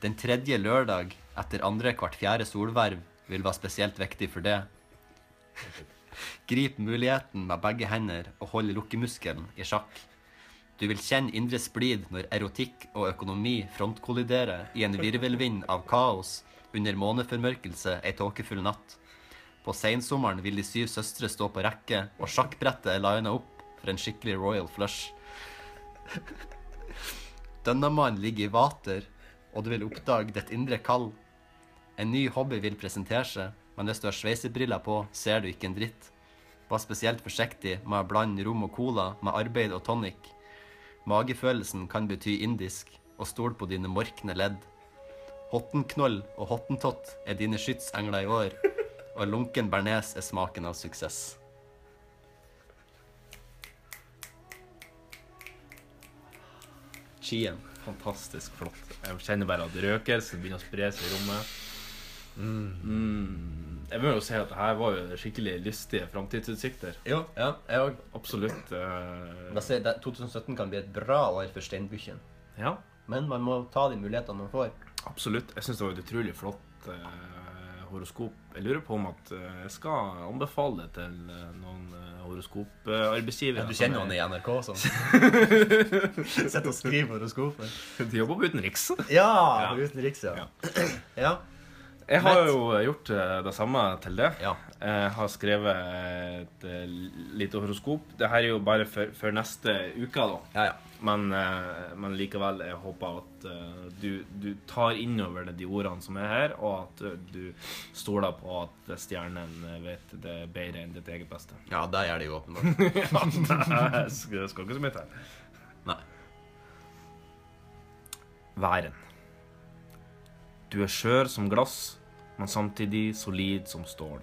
Den tredje lørdag etter andre hvert fjerde solverv vil være spesielt viktig for det. Grip muligheten med begge hender og hold lukkemuskelen i sjakk. Du vil kjenne indre splid når erotikk og økonomi frontkolliderer i en virvelvind av kaos under måneformørkelse ei tåkefull natt. På sensommeren vil de syv søstre stå på rekke, og sjakkbrettet er lina opp for en skikkelig royal flush. Dønnamann ligger i vater, og du vil oppdage ditt indre kall. En ny hobby vil presentere seg, men hvis du har sveisebriller på, ser du ikke en dritt. Var spesielt forsiktig med å blande rom og cola med arbeid og tonic. Magefølelsen kan bety indisk, og stol på dine morkne ledd. Hottenknoll og hottentott er dine skytsengler i år, og lunken bearnés er smaken av suksess. Chien.
Fantastisk flott. Jeg kjenner bare at røkelsen begynner å spre seg i rommet. Mm. Jeg vil jo si at det her var jo skikkelig lystige framtidsutsikter.
Jo, ja, jeg òg.
Absolutt. eh,
2017 kan bli et bra år for steinbukken.
ja,
Men man må ta de mulighetene man får.
absolutt. Jeg syns det var et utrolig flott eh, horoskop. Jeg lurer på om at eh, jeg skal anbefale det til eh, noen eh, horoskoparbeidsgivere.
Du kjenner jo han i NRK og <laughs> sånn. Sitter og skriver horoskoper.
<laughs> De jobber på utenriks.
Ja! på Utenriks, ja. <clears throat> Ja.
Jeg har
Nett.
jo gjort eh, det samme til det.
Ja.
Jeg har skrevet et eh, lite horoskop. Dette er jo bare for, for neste uke, da.
Ja, ja.
Men, eh, men likevel, jeg håper at eh, du, du tar innover deg de ordene som er her, og at eh, du stoler på at stjernen eh, vet det bedre enn ditt eget <laughs> beste.
ja det gjør det jo åpenbart.
Ja, det skal skal ikke så mye til.
Nei.
Væren. Du er skjør som glass, men samtidig solid som stål.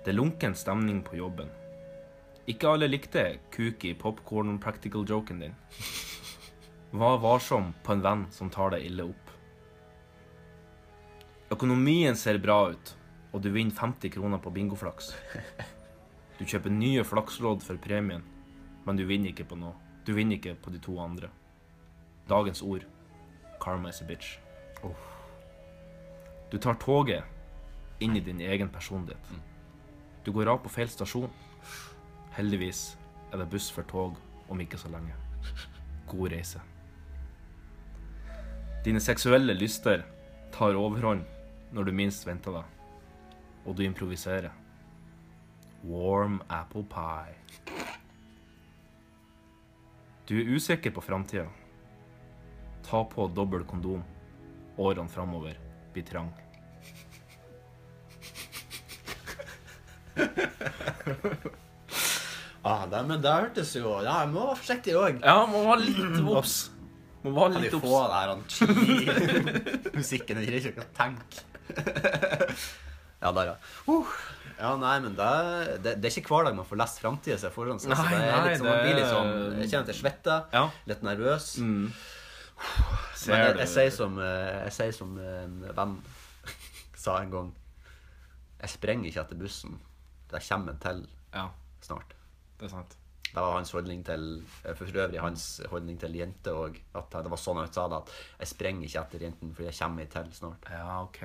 Det er lunken stemning på jobben. Ikke alle likte kuk i popcorn practical joken din. Vær varsom på en venn som tar deg ille opp. Økonomien ser bra ut, og du vinner 50 kroner på bingoflaks. Du kjøper nye flakslodd for premien, men du vinner ikke på noe. Du vinner ikke på de to andre. Dagens ord. Karma is a bitch. Du tar toget inn i din egen personlighet. Du går av på feil stasjon. Heldigvis er det buss for tog om ikke så lenge. God reise. Dine seksuelle lyster tar overhånd når du minst venter det, og du improviserer. Warm apple pie. Du er usikker på framtida. Ta på dobbel kondom. Årene framover blir trang.
Ah, det, men det hørtes jo Ja, jeg må være forsiktig òg.
Ja, man var litt obs. Man var
Kan vi
Mm. litt
få
obs.
det her han chi- <laughs> Musikken jeg greier ikke å tenke. <laughs> Ja, der, ja. Uh. Ja, nei, men det, det, det er ikke hver dag man får lest framtida si foran seg. så
Nei,
det er
nei,
litt sånn, man blir litt sånn,
det-
jeg kjenner at jeg svetter,
Ja. Mm,
litt nervøs. Men
Ser
jeg, jeg, sier
du?
som, eh, jeg sier som en venn <laughs> sa en gang Jeg sprenger ikke etter bussen. Det kommer en til
Ja,
snart.
det er sant.
Det var hans holdning til eh, For øvrig hans holdning til jenter òg. At det var sånn han sa det, at jeg sprenger ikke etter jentene, for jeg kommer ei til snart.
Ja, OK.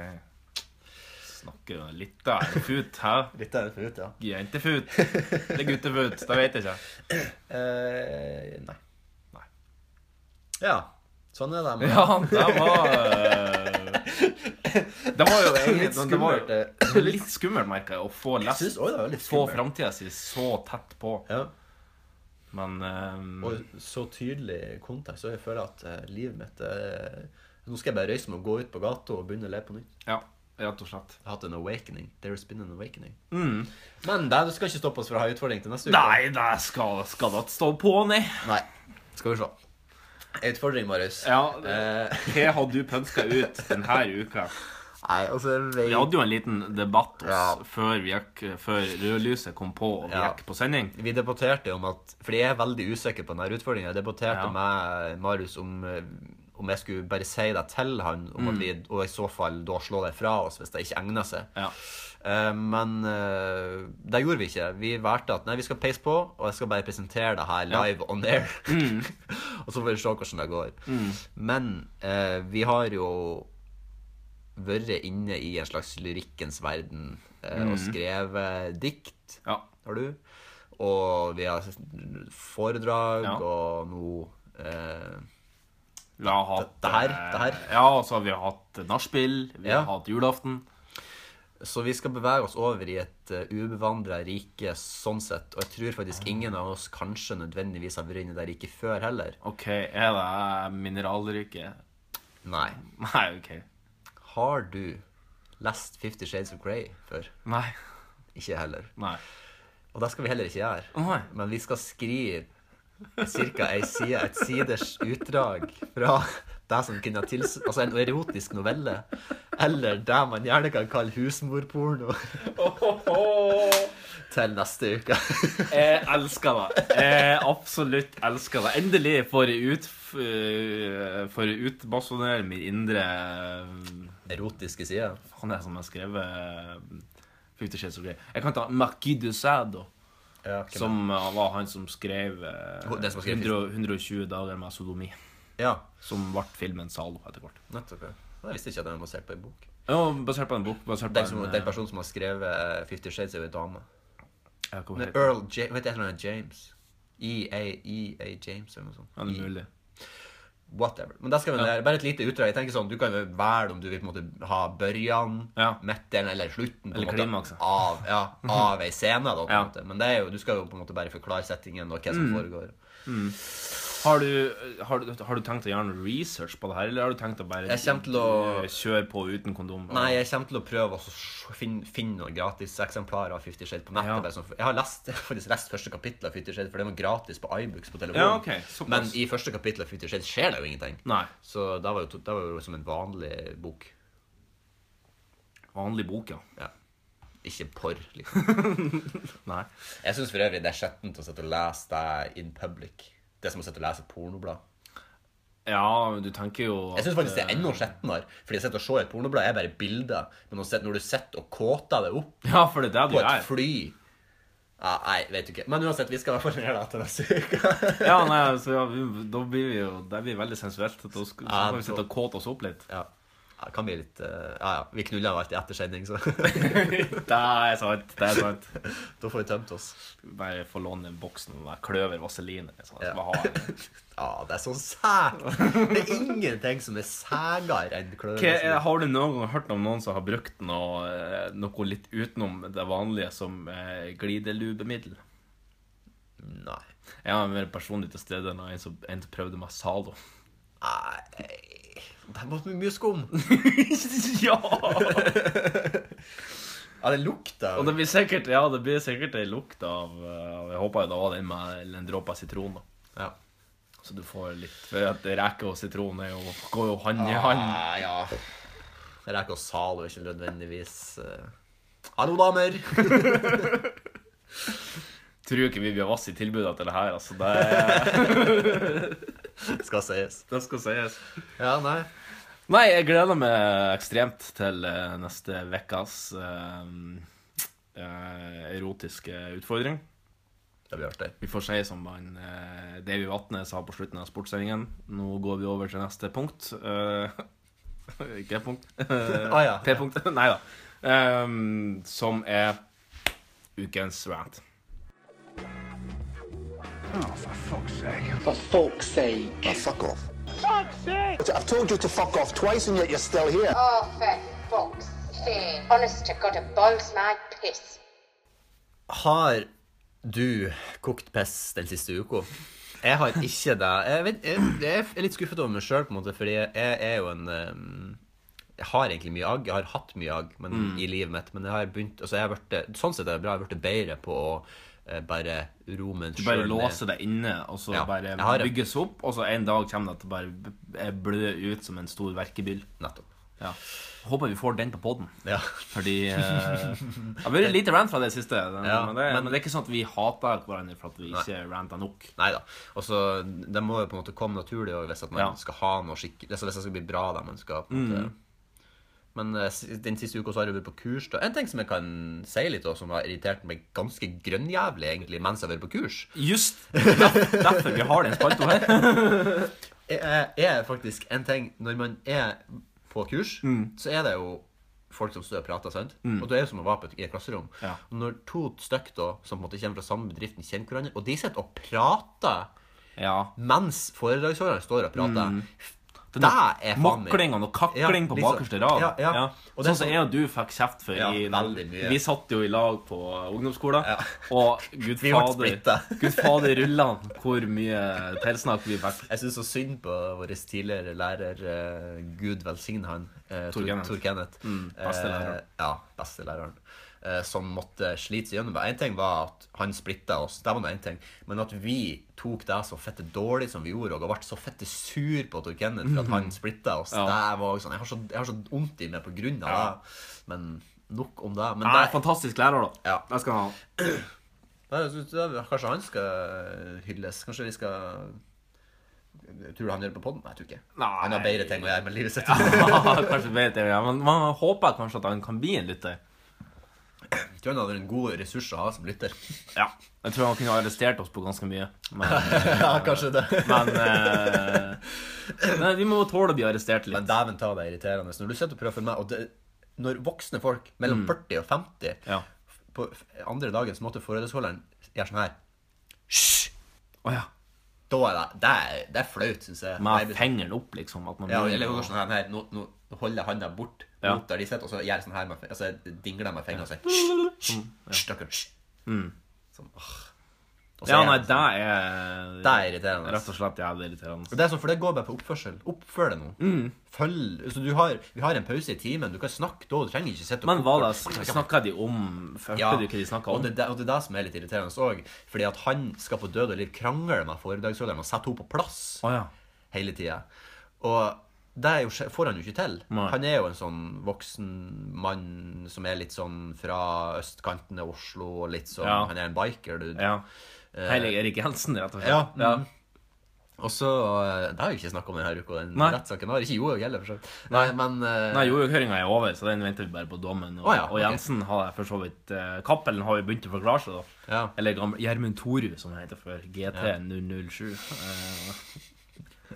Snakker jo litt da. Fut, hæ?
Litt er det forut, ja.
Jentefut? Eller guttefut? Det vet jeg ikke.
Eh, nei.
Nei.
Ja. Sånn er det. med-
<laughs> Ja, det var <laughs> eh, Det var jo egentlig- det
Litt
var jo-
skummelt. eh.
Det var <clears throat> litt skummelt, merker jeg, å få
Jeg
lest
synes også det var litt
Få
skummelt.
framtida si så tett på.
Ja.
Men ehm, eh,
Mm. Og så tydelig kontakt, så jeg føler at eh, livet mitt eh, Nå skal jeg bare røyse meg og gå ut på gata og begynne å leve på nytt.
Ja, rett og slett.
Jeg har hatt en awakening. There's been an awakening. Mm. Men det, du skal ikke stoppe oss fra å ha utfordring til neste uke.
Nei, det skal, skal da ikke stå på, nei.
Nei. Skal vi se. Utfordring, Marius.
Ja, det-
Eh,
Hva har du pønska ut denne uka?
nei, altså
Vi
vi,
hadde jo en liten debatt oss
Ja.
før, vi gikk, før rødlyset kom på og vi
Ja.
gikk på sending.
vi debatterte om at Fordi jeg er veldig usikker på denne utfordringa. Jeg debatterte
Ja.
med Marius om eh, om jeg skulle bare si det til han, om
Mm.
at vi, og i så fall da slå det fra oss hvis det ikke egner seg.
Ja.
Eh, men eh, det gjorde vi ikke. Vi valgte at nei, vi skal peise på, og jeg skal bare presentere det her live on air.
Mm.
<laughs> og så får vi se hvordan det går. Men eh, vi har jo vært inne i en slags lyrikkens verden eh,
Mm.
og skrevet dikt.
Ja.
Har du? Og vi har foredrag,
Ja.
og nå eh,
Vi har hatt
Det- det her,
eh,
det her.
Ja, og så har vi hatt nachspiel, vi
Ja.
har hatt julaften.
Så vi skal bevege oss over i et uh, ubevandra rike sånn sett. Og jeg tror faktisk ingen av oss kanskje nødvendigvis har vært inne i det riket før heller.
OK, er det mineralrike?
Nei.
Nei, OK.
Har du lest Fifty Shades of Grey før?
Nei.
Ikke jeg heller.
Nei.
Og det skal vi heller ikke gjøre.
Nei.
Men vi skal skrive ca. ei side, et siders utdrag fra det som kunne tils... Altså en erotisk novelle. Eller det man gjerne kan kalle husmorporno. Til neste uke.
Jeg elsker det. Jeg absolutt elsker det. Endelig får jeg ut eh, Får jeg utbasunere min indre
Erotiske sider.
Han er som har skrevet Fifty Shades of Grey. Jeg kan ta Marquis de Sade,
Ja, hvem
som eh, var han som skrev, eh,
Den som har skrevet
100 120 dager med sodomi.
Ja,
Som ble filmen Zalo etter hvert.
nettopp. ja. Jeg visste ikke at den var basert på en bok.
Ja, basert på en bok. Basert på
Den, som,
en, eh,
den personen som har skrevet eh, Fifty Shades, er jo en dame.
ja, hva
Men
heter den?
Earl Ja- Hva heter han? James? E EA James, eller noe sånt. E-
Ja, det er mulig.
Whatever. Men det skal vi lære. Bare et lite utdrag. Jeg tenker sånn, Du kan jo velge om du vil på en måte ha børjan,
Ja.
midten eller slutten på en
Eller
måte,
klimakset.
av, ja, av ei scene. da, på en
Ja. Mm.
måte. Men det er jo, du skal jo på en måte bare forklare settingen og hva som foregår.
Har du, har, du, har du tenkt å gjøre noe research på det her, eller har du tenkt å bare
Jeg kommer til å-
kjøre på uten kondom?
Nei, jeg kommer til å prøve å s- finne, finne noen gratis eksemplarer av Fifty Shades på nettet.
Ja.
bare sånn for- Jeg har lest, <laughs> jeg har faktisk lest første kapittel av Fifty Shades, for det var gratis på iBooks på telefonen.
Ja, ok, såpass.
Men i første kapittel av Fifty Shades skjer det jo ingenting.
Nei.
Så det var jo, to- det var jo som en vanlig bok.
Vanlig bok, ja.
Ja. Ikke porr, liksom.
Nei.
Jeg syns for øvrig det er skjettent å sitte og lese det in public. Det er som å sitte og lese et pornoblad.
Ja, men du tenker jo at
Jeg syns faktisk det er enda skjetnere. Fordi å sitte og se et pornoblad er bare bilder. Men å sitte- når du sitter og kåter det opp
Ja, for det er det
på
du
et
gjør.
fly. Ja, nei, vet du ikke. Men uansett, vi skal i hvert fall gjøre det til neste uke.
Ja, nei, så ja, vi, da blir vi jo Det blir veldig sensuelt. Da sk- så
Ja,
kan vi sitte og kåte oss opp
<laughs>
litt.
<laughs> ja. ja, det kan bli litt eh, Ja, ja. Vi knuller jo alltid etter sending, så
Det er sant. Det er sant.
<laughs> da får vi tømt oss.
Bare få låne en boks med noe kløver vaseline. Liksom.
Ja.
Ja. Bare ha
<laughs>
en.
Ja, det er så sært. Det er ingenting som er sægere enn klør.
Hva er- eh, har du noen gang hørt om noen som har brukt noe, eh, noe litt utenom det vanlige som eh, glidelubemiddel?
Nei.
Jeg var mer personlig til stede enn en som, en som prøvde med
<laughs>
Zalo.
Nei. Det var mye skum.
ja!
Ja, det lukter
Og det blir sikkert ja, det blir sikkert en lukt av eh, Jeg håper jo det var den med en dråpe av sitron. da.
Ja.
Så du får litt For at reke og sitron er jo, går jo hand i hand.
Ja, ja. Jeg rekker å salo, ikke nødvendigvis eh, Hallo, <laughs> damer!
Tror ikke vi blir vass i tilbudet til det her, altså. Det, er-
Skal sies.
det skal sies.
Ja, nei.
Nei, jeg gleder meg ekstremt til eh, neste ukas eh, eh, erotiske utfordring.
Det blir artig.
Vi får si som han eh, Davy Vatne sa på slutten av sportssendingen. Nå går vi over til neste punkt. Eh, <laughs> ikke punkt. Eh,
Å ah, ja.
P-punkt. <laughs> Nei da. Ehm, som er ukens rant.
For folk's sake.
Now Ah, fuck off. Fuck's sake! I've told you to fuck off twice and yet you're still here.
Oh, for fuck's sake. Honest to God, it boils my piss.
Har du kokt piss den siste uka? Jeg har ikke det. Jeg, vet, jeg, jeg er litt skuffet over meg sjøl, på en måte, fordi jeg, er jo en ehm, Jeg har egentlig mye agg. Jeg har hatt mye agg men, i livet mitt, men jeg har begynt altså jeg har vært, Sånn sett er det bra. Jeg har blitt bedre på å eh, bare roe meg
Du bare
selv ned.
låser deg inne, og så
Ja,
bare
jeg har det.
bygges opp, og så en dag kommer det til å bare b- eh, blø ut som en stor verkebyll.
Nettopp.
Ja. Håper vi får den på poden.
Ja.
Fordi eh,
<laughs>
Det har vært lite rant fra det siste, den,
Ja,
men, det,
men-
men, det er ikke sånn at vi hater hverandre for at vi ikke ranta nok.
Nei da. Og så Det må jo på en måte komme naturlig og hvis at man
Ja. Mm.
skal ha noe skikkelig altså, Hvis det skal bli bra, da. Man skal på en måte Men eh, s- den siste uka så har jeg vært på kurs. da En ting som jeg kan si litt, og som har irritert meg ganske grønnjævlig egentlig mens jeg har vært på kurs,
Just der, derfor vi har den spalta
<laughs>
her.
er, er faktisk en ting Når man er på kurs,
Mm.
så er det jo folk som står og prater, sant? Og det er jo som å være på et, i et klasserom.
Ja.
Og Når to stykk da, som på en måte kommer fra samme bedriften, kjenner hverandre, og de sitter og prater
Ja.
mens foredragsholderen står og prater
Den
Det er faen meg
Mokling og noe kakling
Ja,
på
litt sånn.
bakerste rad.
Ja, ja. Og det er
Sånn som
sånn-
jeg og du fikk kjeft for.
Ja,
i,
veldig mye.
Vi satt jo i lag på ungdomsskolen,
Ja.
og gud
<laughs> Vi ble
fader, <laughs>
splittet.
gud fader rullan hvor mye tilsnakk vi fikk.
Jeg syns så synd på vår tidligere lærer, eh, gud velsigne han, eh, Tor,
Tor Kenneth. Mm,
Tor Kenneth.
beste
Eh,
læreren.
ja, beste læreren. Eh, som måtte slite seg gjennom det. En ting var at han splitta oss, det var nå en ting. Men at vi tok det så fette dårlig som vi gjorde, og ble så fette sur på Tor Kenneth for at han splitta oss,
Mm. Ja.
det var sånn, jeg har så jeg har så vondt i meg på grunn av det. Men nok om det. Men
Nei,
det,
fantastisk lærer, da.
Ja.
Det skal han ha. <laughs>
Nei, jeg synes det, er- kanskje han skal eh, hylles. Kanskje vi skal eh, Tror du han gjør det på poden? Nei, jeg tror ikke.
Nei.
Han har bedre ting å gjøre med livet sitt. <laughs>
kanskje vet jeg, ja. Men man håper kanskje at han kan bli en lytter.
Jeg tror han hadde en god ressurs å ha som lytter.
Ja. Jeg tror han kunne ha arrestert oss på ganske mye. Men,
<laughs> <laughs> ja, kanskje det.
men eh, Nei, vi må tåle å bli arrestert
Men
litt.
dæven ta det er irriterende. Når du sitter og prøver for meg, og det, når voksne folk mellom 40 og 50
Ja.
på f- andre dagen så måtte forholdsholderen gjøre sånn her
Å ja.
Da er det Det er, det er flaut, syns jeg.
Med
Jeg blir-
fingeren opp, liksom. At man
ja,
blir-
eller hun går sånn her, her nå, nå nå holder jeg handa bort
Ja.
mot der de sitter, og så gjør jeg sånn her med, altså, jeg dingler jeg med fingeren og sier «Hysj,
Mm,
hysj, hysj, dere, hysj». Sånn, åh. Og så
Ja,
er
nei,
det
det
sånn.
er
Det er irriterende.
Rett og slett jævlig irriterende.
Det er sånn, for det går bare på oppførsel. Oppfør deg nå.
Mm.
Følg altså, du har, Vi har en pause i timen. Du kan snakke da. Du trenger ikke sitte og
Men hva da? Snakka de om Hørte
Ja,
du hva de snakka
og
om?
det, er det- og det er det som er litt irriterende òg. Fordi at han skal på død og liv krangle med foredragsholderen og sette henne på plass
Å ja.
hele tida. Og det er jo, skje- får han jo ikke til.
Nei.
Han er jo en sånn voksen mann som er litt sånn fra østkanten av Oslo og litt sånn
Ja.
Han er en biker, du.
ja. Heilig Erik Jensen, rett og
Eh, Ja,
slett. Ja.
mm. Og så eh, Det har vi ikke snakka om denne uka, den
Nei.
rettssaken. har Ikke Johaug heller, for så vidt. Nei, men eh,
Nei, Jordhøringa er over, så den venter vi bare på dommen. Og,
Å ja,
og
ok.
Jensen har jeg for så vidt eh, Cappelen har jo begynt å forklare seg, da.
Ja.
Eller gamle Gjermund Toru, som han heter før. GT007. Eh,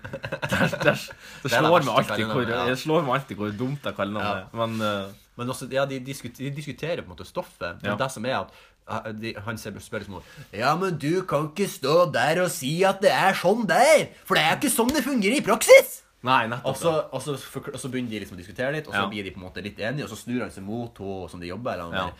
<laughs> det
<laughs> det
slår
verste
meg alltid
kallenavnet,
hvor
ja.
Det slår meg alltid hvor dumt det kallenavnet er. Men eh,
Men også, ja, de, diskut, de diskuterer på en måte stoffet. Men
Ja.
det som er at eh, de, han ser- spør liksom Ja, men du kan ikke stå der og si at det er sånn der! For det er ikke sånn det fungerer i praksis!
Nei, nettopp.
Og så, og, så forkl- og så begynner de liksom å diskutere litt, og så
Ja.
blir de på en måte litt enige, og så snur han seg mot henne som de jobber eller
Ja.
ja.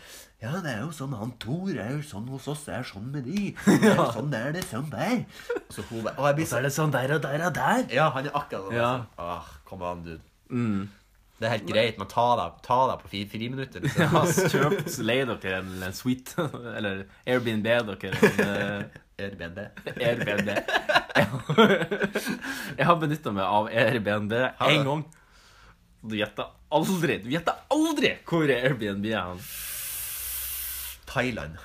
ja, det er jo sånn han Tor er jo sånn hos oss, det er sånn med
<laughs>
de. <laughs> Det er jo sånn der, det er sånn der. Og så hun bare Å, jeg blir så
er det sånn der og der og der.
Ja, han er akkurat sånn.
Ja. Mm.
Åh, kom an, dude. Det er helt greit, men ta deg, ta deg på fri, fri minutter. Liksom. <laughs>
Ja, så kjøp, så leier dere en, en suite, <laughs> eller Airbnb dere, en
Airbnb.
eh, Airbnb. <laughs> Jeg har benyttet meg av Airbnb
du?
en gang. Du gjetter aldri, du gjetter aldri hvor er Airbnb er han.
Thailand.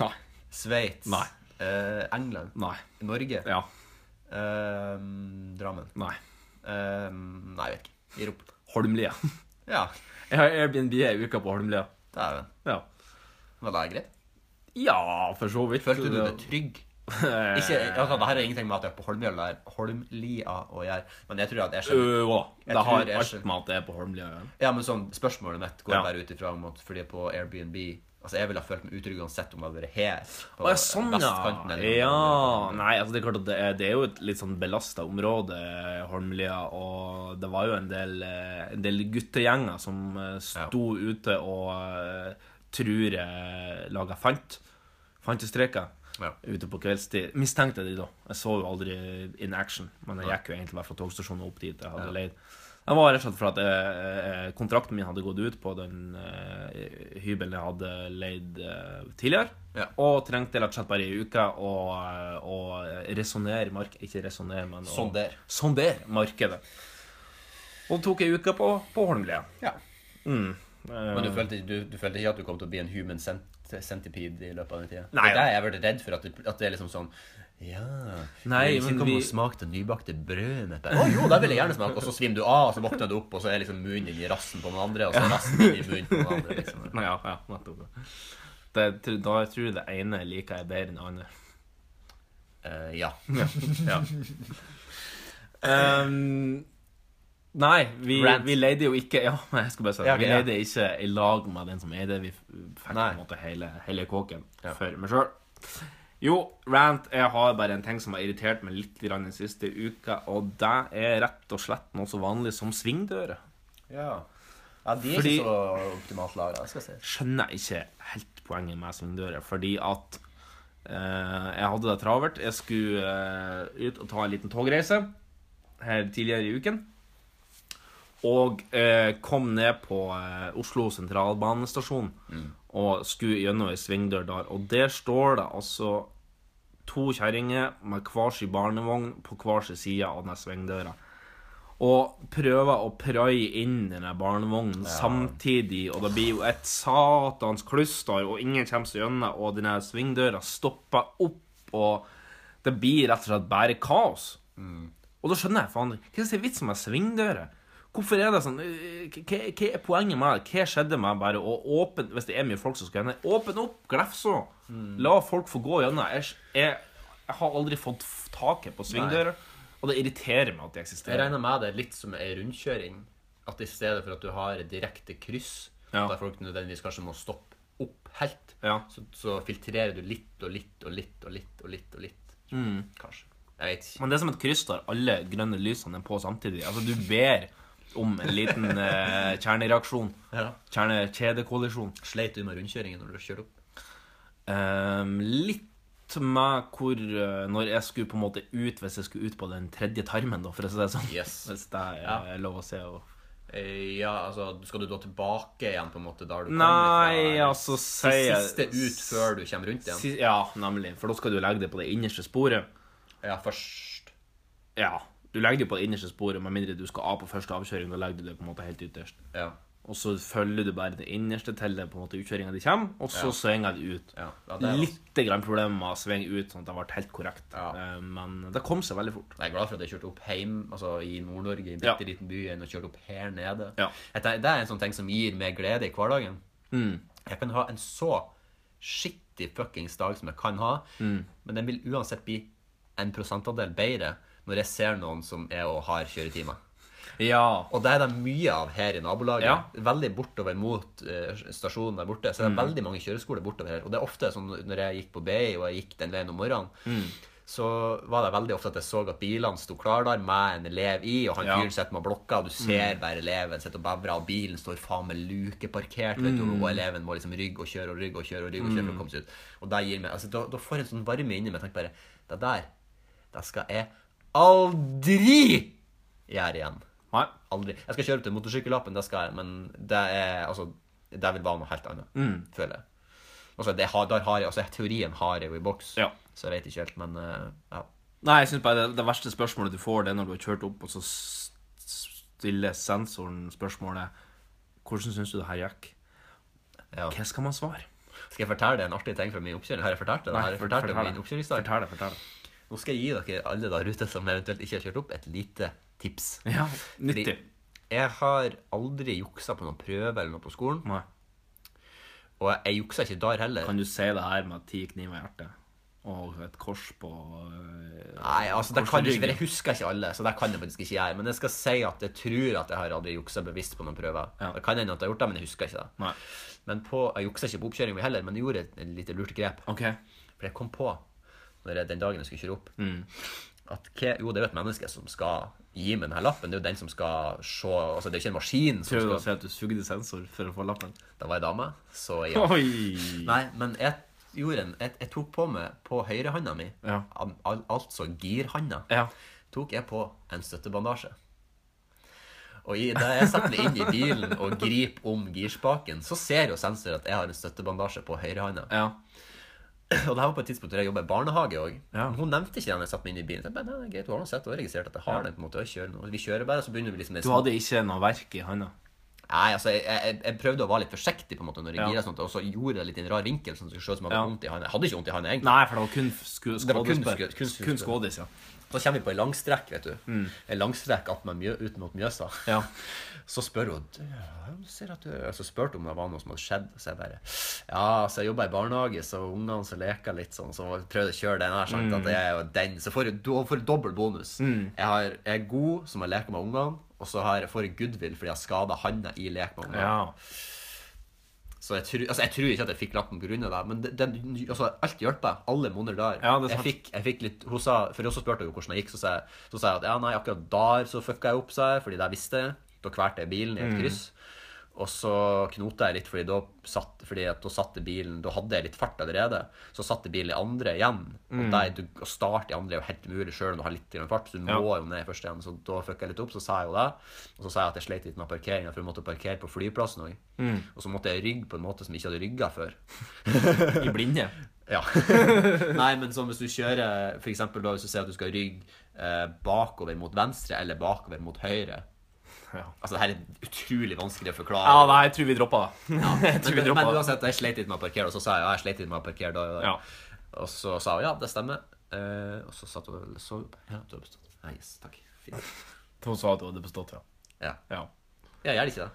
Nei.
Sveits.
Nei.
Eh, England.
Nei.
Norge.
Ja.
Eh, Drammen.
Nei.
Eh, nei, jeg vet ikke. Gir opp.
Holmlia. <laughs>
Ja,
Jeg har Airbnb i uka på Holmlia.
dæven.
Ja.
Var det greit?
Ja, for så vidt.
Følte du deg
<laughs>
trygg?
Eh,
Ikke, altså, det her er ingenting med at jeg er på Holmlia eller Holmlia å gjøre, men jeg tror at jeg skjønner.
Øh, hva?
Jeg
det
tror
har
jeg
alt
skjønner.
med at det er på Holmlia. å gjøre.
Ja, men sånn, spørsmålet mitt går
Ja.
bare ut ifra om at fordi på Airbnb Altså, jeg ville ha følt meg utrygg uansett om jeg hadde vært her. På
Å ja, sånn,
vestkanten
ja.
eller-
ja. Nei, altså det er klart at det er, det er jo et litt sånn belasta område, Holmlia, og det var jo en del, eh, en del guttegjenger som eh, sto ute og eh, trur eh, laga fant. Fantestreker.
Ja.
ute på kveldstid. Mistenkte jeg de da. Jeg så jo aldri in action, men jeg gikk jo egentlig bare fra togstasjonen opp dit jeg hadde leid. Det var rett og slett for at eh, eh, kontrakten min hadde gått ut på den eh, hybelen jeg hadde leid eh, tidligere.
Ja.
Og trengte rett og slett bare ei uke å, eh, å resonnere mark- Ikke resonnere, men å-
Sondere.
sondere markedet. Og det tok ei uke på, på Holmlia.
Ja. Mm.
Eh,
Men du følte, du, du følte ikke at du kom til å bli en human cent centipede i løpet av den tida?
Nei,
Det er der jeg ble redd for at det, at det er liksom sånn Ja
Nei,
Hvis
men
du kommer
vi-
og smaker det nybakte brødet mitt der, Å jo, det vil jeg gjerne smake! Og så svimmer du av, og så våkner du opp, og så er liksom munnen din i rassen på den andre, og så er rassen din i munnen på den andre. <laughs> liksom
Nei, Ja, ja, nettopp. Det, tr- da tror jeg det ene liker jeg bedre enn det andre.
Eh, Ja.
Ja. Ehm, nei, vi,
Rant.
vi leide jo ikke Ja, <laughs> men jeg skal bare si det.
Ja, ok,
Vi
ja.
leide ikke i lag med den som eide. Vi f- fikk på
Nei.
en måte hele, hele kåken
Ja.
for meg sjøl. Jo, rant. Jeg har bare en ting som har irritert meg litt grann den siste uka, og det er rett og slett noe så vanlig som svingdører.
Ja, ja de er
Fordi-
ikke så optimalt laga, skal jeg si.
skjønner jeg ikke helt poenget med svingdører. Fordi at eh, jeg hadde det travelt. Jeg skulle eh, ut og ta en liten togreise her tidligere i uken. Og eh, kom ned på eh, Oslo sentralbanestasjon og skulle gjennom ei svingdør der. Og der står det altså to kjerringer med hver sin barnevogn på hver sin side av denne svingdøra. Og prøver å praie inn denne barnevognen samtidig, og det blir jo et satans kluster, og ingen kommer seg gjennom, og denne svingdøra stopper opp, og det blir rett og slett bare kaos.
Mm.
Og da skjønner jeg faen ikke Hva er det vitsen med svingdører? Hvorfor er det sånn øh, Hva hva er poenget med det? Hva skjedde med bare å åpne Hvis det er mye folk som skal gjennom, åpne opp, glefse!
Mm.
La folk få gå gjennom. Jeg, jeg, jeg har aldri fått f- taket på svingdører, og det irriterer meg at de
Jeg
eksisterer.
regner med det er litt som ei rundkjøring. At i stedet for at du har et direkte kryss,
Ja.
der folk nødvendigvis kanskje må stoppe opp helt,
Ja.
så, så filtrerer du litt og litt og litt og litt og litt. og litt.
Mm.
Kanskje. Jeg vet ikke.
Men det er som et kryss der alle grønne lysene er på samtidig. Altså, du ber om en <laughs> liten eh, kjernereaksjon.
Ja.
Kjernekjedekollisjon.
Sleit du med rundkjøringen når du kjørte opp?
Ehm, litt med hvor eh, Når jeg skulle på en måte ut, hvis jeg skulle ut på den tredje tarmen, da, for å si det sånn.
Yes.
<laughs> Hvis det er
Ja.
lov å se. Og...
Eh, Ja, altså, Skal du da tilbake igjen på en måte der du kom
Nei,
ifra?
altså,
Til
sier
Siste ut før du kommer rundt igjen?
Si- Ja, nemlig. For da skal du legge det på det innerste sporet.
Ja, først.
Ja. Du legger det på det innerste sporet, med mindre du skal av på første avkjøring. Da legger du det på en måte helt ytterst.
Ja.
Og så følger du bare det innerste til det på en måte utkjøringa de kommer, og så svinger de ut.
Ja, ja, det er
Litt grann problemer med å svinge ut, sånn at det ble helt korrekt.
Ja.
Eh, Men det kom seg veldig fort.
Jeg er glad for at jeg kjørte opp hjem altså i Nord-Norge, i en
Ja.
bitte liten by, enn å kjøre opp her nede.
Ja.
Jeg tenker- Det er en sånn ting som gir meg glede i hverdagen.
Mm.
Jeg kan ha en så skittig fuckings dag som jeg kan ha,
Mm.
men den vil uansett bli en prosentandel bedre når jeg ser noen som er og har kjøretimer.
Ja.
Og det er det mye av her i nabolaget.
Ja. Mm.
Veldig bortover mot eh, stasjonen der borte. Så det er veldig mange kjøreskoler bortover her. Og det er ofte sånn når jeg gikk på BI, og jeg gikk den veien om morgenen,
Mm.
så var det veldig ofte at jeg så at bilene sto klar der med en elev i, og han
Ja. Mm.
fyren sitter med blokka, og du ser bare eleven sitter og bevrer, og bilen står faen meg lukeparkert, vet du,
Mm.
og eleven må liksom rygge og kjøre og rygge og kjøre og rygge og kjøre for å komme seg ut. Og det gir meg Altså, da, da får jeg en sånn varme inni meg. Jeg tenker bare Det der, det skal jeg aldri gjøre igjen
Nei.
aldri Jeg skal kjøre opp til motorsykkellappen, det skal jeg, men det er altså Det vil være noe helt annet,
Mm.
føler jeg. Altså, det har, der har jeg, altså, teorien har jeg jo i boks,
Ja.
så jeg vet ikke helt, men eh, ja.
Nei, jeg synes bare det, det verste spørsmålet du får, det er når du har kjørt opp, og så s- stiller sensoren spørsmålet Hvordan syns du det her gikk?
Ja.
Hva skal man svare?
Skal jeg fortelle deg en artig ting fra min oppkjøring? Har jeg fortalt det? Har jeg fortalt det om min oppkjøringsdag?
Fortell det. fortell det.
Nå skal jeg gi dere alle der ute som eventuelt ikke har kjørt opp, et lite tips.
Ja,
Fordi
nyttig.
Jeg har aldri juksa på noen prøve eller noe på skolen,
Nei.
og jeg juksa ikke der heller.
Kan du si det her med ti kniver i hjertet og et kors på eh,
Nei, altså, det
Hvordan
kan jeg
ligger?
ikke, for jeg husker ikke alle, så det kan jeg faktisk ikke gjøre. Men jeg skal si at jeg tror at jeg har aldri juksa bevisst på noen prøver.
Ja.
Det kan hende at jeg har gjort det, men jeg husker ikke det.
Nei.
Men på, Jeg juksa ikke på oppkjøringa mi heller, men jeg gjorde et, et lite lurt grep.
OK.
For jeg kom på, når jeg, den dagen jeg skulle kjøre opp,
Mm.
at hva, jo, det er jo et menneske som skal gi meg denne lappen. Det er jo den som skal se Altså, det er jo ikke en maskin som
Prøvde å
skal
si at du sugde sensor for å få lappen.
Det var ei dame, så ja.
Oi!
Nei, men jeg gjorde en Jeg, jeg tok på meg på høyrehanda mi,
Ja.
al, al, altså girhanda,
Ja.
tok jeg på en støttebandasje. Og i, da jeg setter meg inn i bilen og griper om girspaken, så ser jo sensor at jeg har en støttebandasje på høyrehanda.
Ja.
<clears throat> Og det her var på et tidspunkt der jeg jobba i barnehage òg.
Ja.
Hun nevnte ikke den jeg satte meg inn i bilen. Så jeg bare, nei, greit, hun har nå sett og registrert at jeg har den. på en måte, og jeg kjører nå. Vi kjører bare, så begynner vi liksom med
Du hadde ikke noe verk i handa?
Nei, altså, jeg, jeg, jeg prøvde å være litt forsiktig på en måte når jeg
Ja.
gira, sånt, og så gjorde jeg litt i en rar vinkel. sånn at det skulle se ut som jeg hadde
Ja.
vondt i handa. Jeg hadde ikke vondt i handa, egentlig.
Nei, for det var kun sku
Det var kun
skuespill.
sku- kun skuespill.
Kun skådis, ja.
Så kommer vi på ei langstrekk, vet du.
Mm.
En langstrekk att med Mjø- ut mot Mjøsa.
Ja.
Så spør hun «Du, jeg ser at du... Så spurte hun om det var noe som hadde skjedd. Så jeg bare Ja, så jeg jobba i barnehage, så ungene så leker litt sånn, så prøvde jeg å kjøre den her. Sant,
Mm.
at jeg er jo den. Så får jeg, do- får jeg dobbel bonus. Jeg, har, jeg er god som jeg leker med ungene, og så har, får jeg goodwill fordi jeg har skada handa i lek med ungene.
ja.
Så jeg, tror- altså jeg tror ikke at jeg fikk lappen pga. det, men det, den, altså alt hjalp meg. Alle måneder der.
Ja, det er
jeg,
sant.
fikk, jeg fikk litt hun sa, For også spurte hun hvordan det gikk, så sa jeg, så sa jeg at ja, nei, akkurat der så fucka jeg opp, sa jeg, fordi det jeg visste. Da kvalte jeg bilen i
Mm.
et kryss. Og så knota jeg litt, fordi da satt, fordi at da satte bilen Da hadde jeg litt fart allerede. Så satte bilen i andre igjen. Og der, du, å starte i andre er jo helt umulig sjøl om du har litt grann fart. Så du
Ja.
må jo ned i første igjen. Så da fucka jeg litt opp, så sa jeg jo det. Og så sa jeg at jeg sleit litt med parkeringa, for jeg måtte parkere på flyplassen òg. Og så måtte jeg rygge på en måte som jeg ikke hadde rygga før.
I blinde.
Ja. Nei, men sånn hvis du kjører For eksempel da hvis du sier at du skal rygge eh, bakover mot venstre eller bakover mot høyre
Ja.
Altså, det her er utrolig vanskelig å forklare.
Ja, nei, jeg tror vi droppa det. <laughs> jeg tror vi
men, men
droppa det.
uansett, jeg sleit litt med å parkere, og så sa jeg ja, jeg sleit litt med å parkere da. og da.
Ja.
Og så sa hun ja, det stemmer. Eh, og så satt hun og sov. Ja, du har bestått. Ja, yes, takk. Fint.
Hun sa at du hadde bestått, ja.
Ja.
ja.
Jeg gjør ikke det.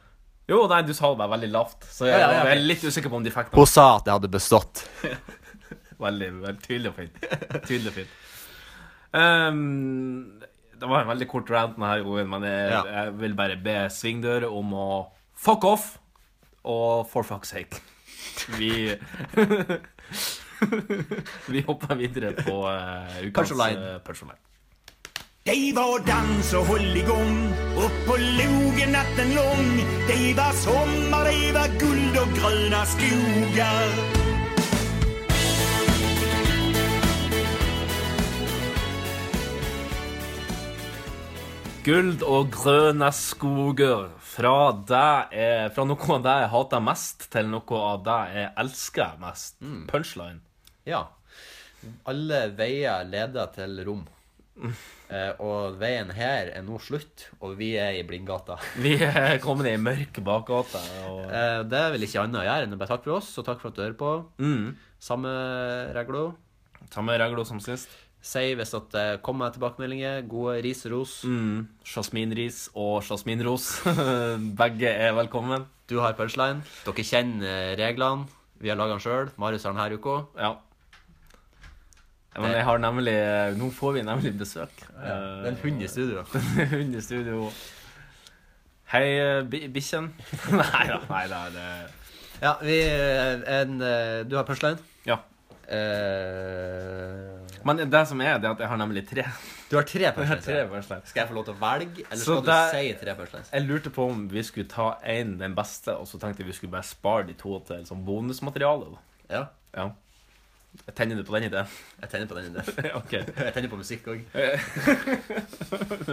Jo, nei, du sa det bare veldig lavt, så jeg,
Ja, ja, ja,
jeg er
ok.
litt usikker på om de fikk noe.
Hun sa at jeg hadde bestått.
Veldig, veldig tydelig og fint. Tydelig og fint. Ehm, det var en veldig kort rant denne her gangen, men jeg,
Ja.
jeg vil bare be Svingdør om å fuck off, og for fuck's sake. Vi <laughs> Vi hopper videre på eh, ukens
Punchline.
eh, punchline.
Det var dans och hålligång upp på logen natten lång. Det var sommar, det var guld och gröna skogar.
Guld og grønne skoger. Fra, det jeg, fra noe av det jeg hater mest, til noe av det jeg elsker mest. Punchline.
<laughs> Ja. Alle veier leder til rom. Eh, og veien her er nå slutt, og vi er i blindgata.
Vi er kommet i en mørk bakgate. Og...
Eh, det er vel ikke annet å gjøre enn å bare takke for oss, og takk for at du hører på. Samme regla.
Samme regler som sist.
Si hvis at det kommer tilbakemeldinger, gode ris og ros.
Jasminris og jasminros. <laughs> Begge er velkommen.
Du har punchline. Dere kjenner reglene. Vi har laga den sjøl. Marius har den her uka.
Ja. Men jeg har nemlig Nå får vi nemlig besøk. <laughs>
Det er en hund i studio.
Eh, Hund i studio. Hei, eh, bi- bikkjen. <laughs> nei da. Nei, det er det.
<laughs> Ja, vi en, eh, Du har punchline.
Ja.
Eh,
Men det som er, det er at jeg har nemlig tre.
du har tre punchlines.
tre
ja.
punchline.
Skal jeg få lov til å velge, eller
Så
skal du
det-
si tre punchlines?
Jeg lurte på om vi skulle ta én, den beste, og så tenkte jeg vi skulle bare spare de to til som bonusmateriale. da.
Ja,
Ja. Jeg tenner du på den <laughs> ideen?
jeg tenner på den <laughs> ideen.
OK.
Jeg tenner på musikk òg.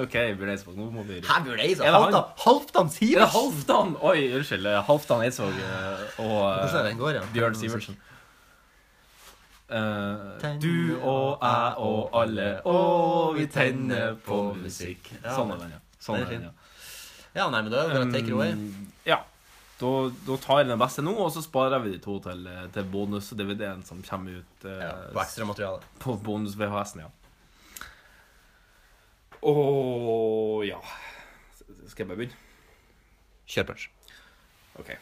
ok, Bjørn Eidsvåg, nå må vi
Her burde
Er
jeg si
det han? Er
Halvdan Halvdan
det
Sivers!
Halvdan Oi, unnskyld. eh, Halvdan Eidsvåg eh, og
Hvordan er det
eh,
den går igjen?
Bjørn Sivertsen. Eh, du og jeg og alle, og vi tenner på musikk.
Ja.
Sånn er den, ja. Sånn
Den er
er den,
fin.
ja. Mm,
Ja, nei, men da er det bare å take it away.
Ja. Da, da tar jeg den beste nå, og så sparer vi de to til, eh, til bonus-DVD-en som kommer ut eh,
Ja, på ekstra materiale.
på bonus-VHS-en, ja. Og ja Skal jeg bare begynne?
Kjør punch.
OK.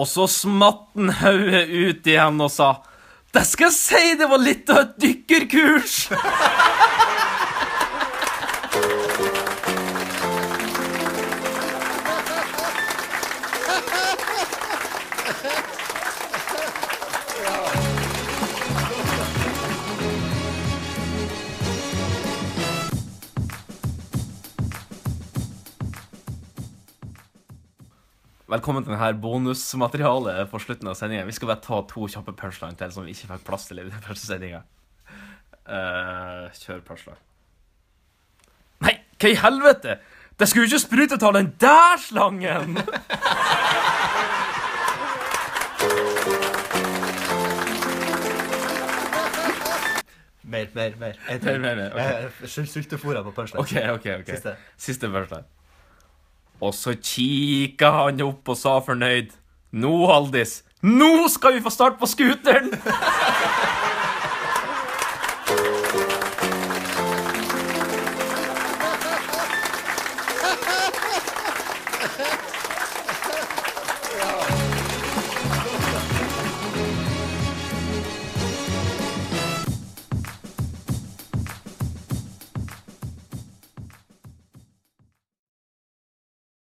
Og så smatt han hodet ut igjen og sa Det skal jeg si, det var litt av et dykkerkurs! Velkommen til dette bonusmaterialet for slutten av sendingen. Vi skal bare ta to kjappe punchline til som vi ikke fikk plass til i den første sendinga. kjør punchline. Nei, hva i helvete! Det skulle jo ikke sprute ta den der slangen!
Mer, mer, mer. Jeg
Mer, mer, mer, ok.
Sultefòra på punchline.
OK, OK. ok.
Siste.
Siste punchline. Og så kikka han opp og sa fornøyd. Nå, Haldis, nå skal vi få start på scooteren!